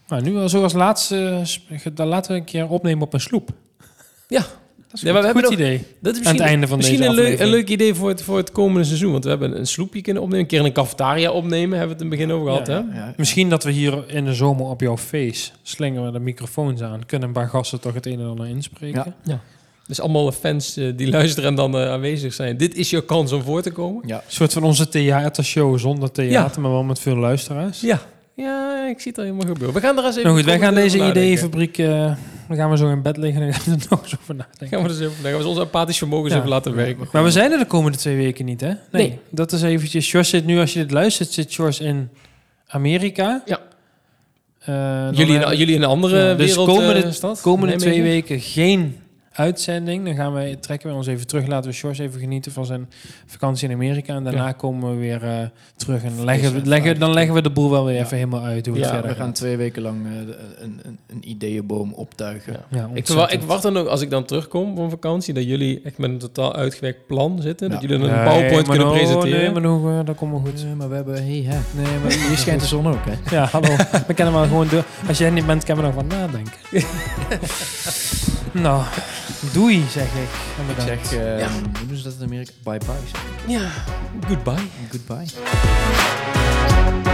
S2: Nou, nu al zo als laatste, eh, sp- ge- dan laten we een keer opnemen op een sloep.
S1: Ja.
S2: dat is
S1: Ja, maar we
S2: een goed,
S1: hebben nog-
S2: idee.
S1: Dat is
S2: Aan het
S1: misschien,
S2: einde van deze
S1: misschien een, leuk,
S2: aflevering.
S1: een leuk idee voor het, voor het komende seizoen. Want we hebben een sloepje kunnen opnemen. Een keer in een cafetaria opnemen. Hebben we het in het begin over gehad,
S2: Ja.
S1: hè?
S3: Ja.
S2: Misschien dat we hier in de zomer op jouw face slingeren we de microfoons aan. Kunnen een paar gasten toch het een en ander inspreken?
S3: Ja.
S1: Dus allemaal fans eh, die luisteren en dan eh, aanwezig zijn. Dit is je kans om voor te komen.
S3: ja.
S2: Een soort van onze theatershow zonder theater, maar wel met veel luisteraars.
S1: Ja. Ja, ik zie het al helemaal gebeuren. We gaan er eens even...
S2: Nou goed, wij gaan
S1: komende
S2: deze
S1: over nadenken.
S2: ideeënfabriek... eh dan gaan we zo in bed liggen en dan gaan we er nog eens over nadenken.
S1: Gaan we, dus even, dan gaan we ons empathisch vermogen eens
S2: Ja.
S1: even laten werken.
S2: Maar we zijn er de komende twee weken niet, hè? Nee.
S1: Nee.
S2: Dat is eventjes... George zit nu, als je dit luistert, zit George in Amerika.
S1: Ja.
S2: Eh, dan
S1: Jullie, in,
S2: hebben-
S1: jullie in een andere
S2: Ja, dus
S1: wereld,
S2: komende-
S1: eh, stad?
S2: komende twee
S1: Nijmegen?
S2: weken geen uitzending. Dan gaan wij, trekken we ons even terug. Laten we George even genieten van zijn vakantie in Amerika. En daarna komen we weer eh, terug. En leggen, we-
S3: en
S2: leggen,
S3: fruit.
S2: dan leggen we de boel wel weer
S3: Ja.
S2: even helemaal uit. Hoe het
S1: Ja,
S2: verder
S3: We gaan
S2: gaat.
S3: twee weken lang eh, de- een, een, een ideeënboom optuigen.
S1: Ja.
S2: Ja,
S1: Ik, verwa- ik
S2: ontzettend.
S1: wacht dan ook, als ik dan terugkom van vakantie, dat jullie echt met een totaal uitgewerkt plan zitten. Dat
S3: Ja.
S1: jullie dan een
S2: Nee,
S1: PowerPoint
S2: maar
S1: kunnen
S2: nou,
S1: presenteren.
S2: Nee, maar nou, eh, dat komt wel goed.
S3: Nee, maar we hebben... Hey, hè.
S2: Nee, maar
S3: Hier schijnt de zon ook, hè?
S2: Ja, hallo. We kennen maar gewoon door. Als jij niet bent, kan we nog wat nadenken. nou, doei, zeg ik. En
S3: Ik
S2: bedankt.
S3: zeg, eh,
S1: Ja.
S3: hoe doen ze dat in Amerika? Bye-bye. zeg.
S1: Ja, goodbye.
S3: Goodbye.